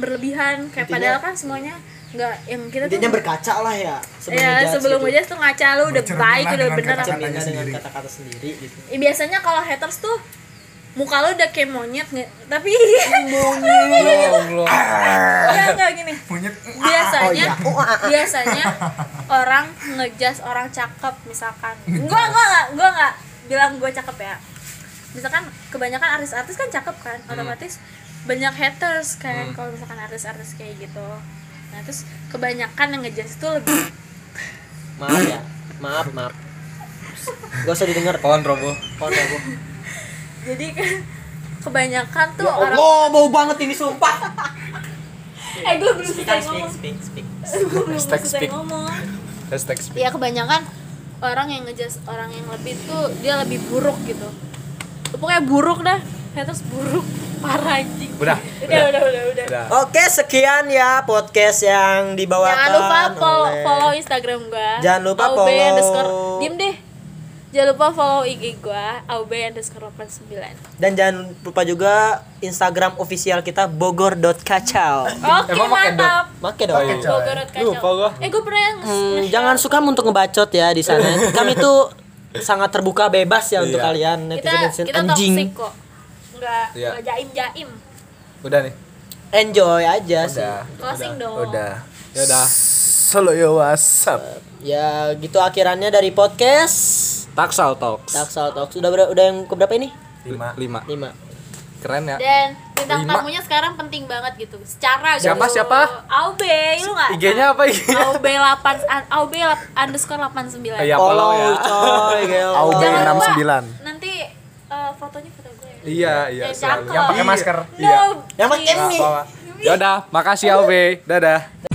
Speaker 5: berlebihan kayak padahal kan semuanya nggak yang kita tuh
Speaker 4: intinya berkaca lah ya sebelum
Speaker 5: ya
Speaker 4: ngejudge
Speaker 5: sebelum
Speaker 4: gitu.
Speaker 5: ngejas tuh ngaca lu udah baik udah bener apa
Speaker 4: Cermina dengan kata-kata sendiri gitu
Speaker 5: Ya, biasanya kalau haters tuh muka lo udah kayak monyet nge- tapi
Speaker 11: Ya
Speaker 3: Ya
Speaker 5: Enggak, enggak gini biasanya biasanya orang ngejas orang cakep misalkan gua gua nggak gua nggak bilang gua cakep ya misalkan kebanyakan artis-artis kan cakep kan otomatis banyak haters kan kalau misalkan artis-artis kayak gitu nah terus kebanyakan yang ngejas itu lebih
Speaker 4: maaf ya maaf maaf gak usah didengar
Speaker 3: Pohon roboh.
Speaker 4: pohon ya bu
Speaker 5: jadi kebanyakan tuh orang
Speaker 4: oh bau banget ini sumpah
Speaker 5: eh gue belum
Speaker 4: speak
Speaker 5: selesai
Speaker 4: speak
Speaker 5: ngomong
Speaker 4: speak speak
Speaker 5: Gua belum
Speaker 3: Hashtag
Speaker 5: selesai
Speaker 3: speak.
Speaker 5: ngomong
Speaker 3: Hashtag speak.
Speaker 5: ya kebanyakan orang yang ngejas orang yang lebih tuh dia lebih buruk gitu pokoknya buruk dah haters buruk parah anjing
Speaker 3: Udah,
Speaker 5: udah udah udah udah
Speaker 4: Oke, sekian ya podcast yang dibawakan.
Speaker 5: jangan lupa follow,
Speaker 4: oleh-
Speaker 5: follow instagram gua
Speaker 4: Jangan lupa
Speaker 5: aub
Speaker 4: follow-
Speaker 5: underscore diem deh jangan lupa follow ig gua aub underscore 89
Speaker 4: Dan jangan lupa juga Instagram official kita bogor.kacau.
Speaker 5: oke
Speaker 3: Emang pakai dot?
Speaker 5: mantap
Speaker 4: Pakai dong.
Speaker 5: Bogor Road Kacau.
Speaker 3: Lupa gua.
Speaker 5: eh gua pernah yang
Speaker 4: Hmm, jangan suka untuk ngebacot ya di sana. Kami tuh sangat terbuka bebas ya untuk kalian
Speaker 5: kita
Speaker 4: netizen
Speaker 5: kita toxic
Speaker 4: anjing.
Speaker 5: kok nggak
Speaker 3: Iya.
Speaker 5: nggak jaim jaim
Speaker 3: Udah nih.
Speaker 4: Enjoy aja sih.
Speaker 5: closing dong
Speaker 3: Ya udah.
Speaker 2: Solo yo WhatsApp.
Speaker 4: Ya gitu akhirannya dari podcast
Speaker 11: Taksal Talks.
Speaker 4: Taksal Talks. Udah ber- udah yang keberapa ini?
Speaker 3: Lima.
Speaker 11: Lima.
Speaker 4: 5.
Speaker 11: Keren ya.
Speaker 5: dan bintang tamunya sekarang penting banget gitu secara
Speaker 3: Siapa,
Speaker 5: gitu.
Speaker 3: siapa?
Speaker 5: Aube lu nggak
Speaker 3: IG-nya apa? IG?
Speaker 5: Aube 8 Aube underscore 89
Speaker 3: Ya follow
Speaker 4: Follow
Speaker 3: ya.
Speaker 4: coy. gila.
Speaker 2: AUB
Speaker 5: Jangan lupa.
Speaker 2: 69.
Speaker 5: nanti eh, fotonya foto gue ya
Speaker 3: Iya, iya
Speaker 5: Eh,
Speaker 3: selalu.
Speaker 5: cakep.
Speaker 3: Iya.
Speaker 12: Pakai masker.
Speaker 5: no
Speaker 4: Yang pakai ini.
Speaker 3: Ya udah, makasih Albe. Dadah.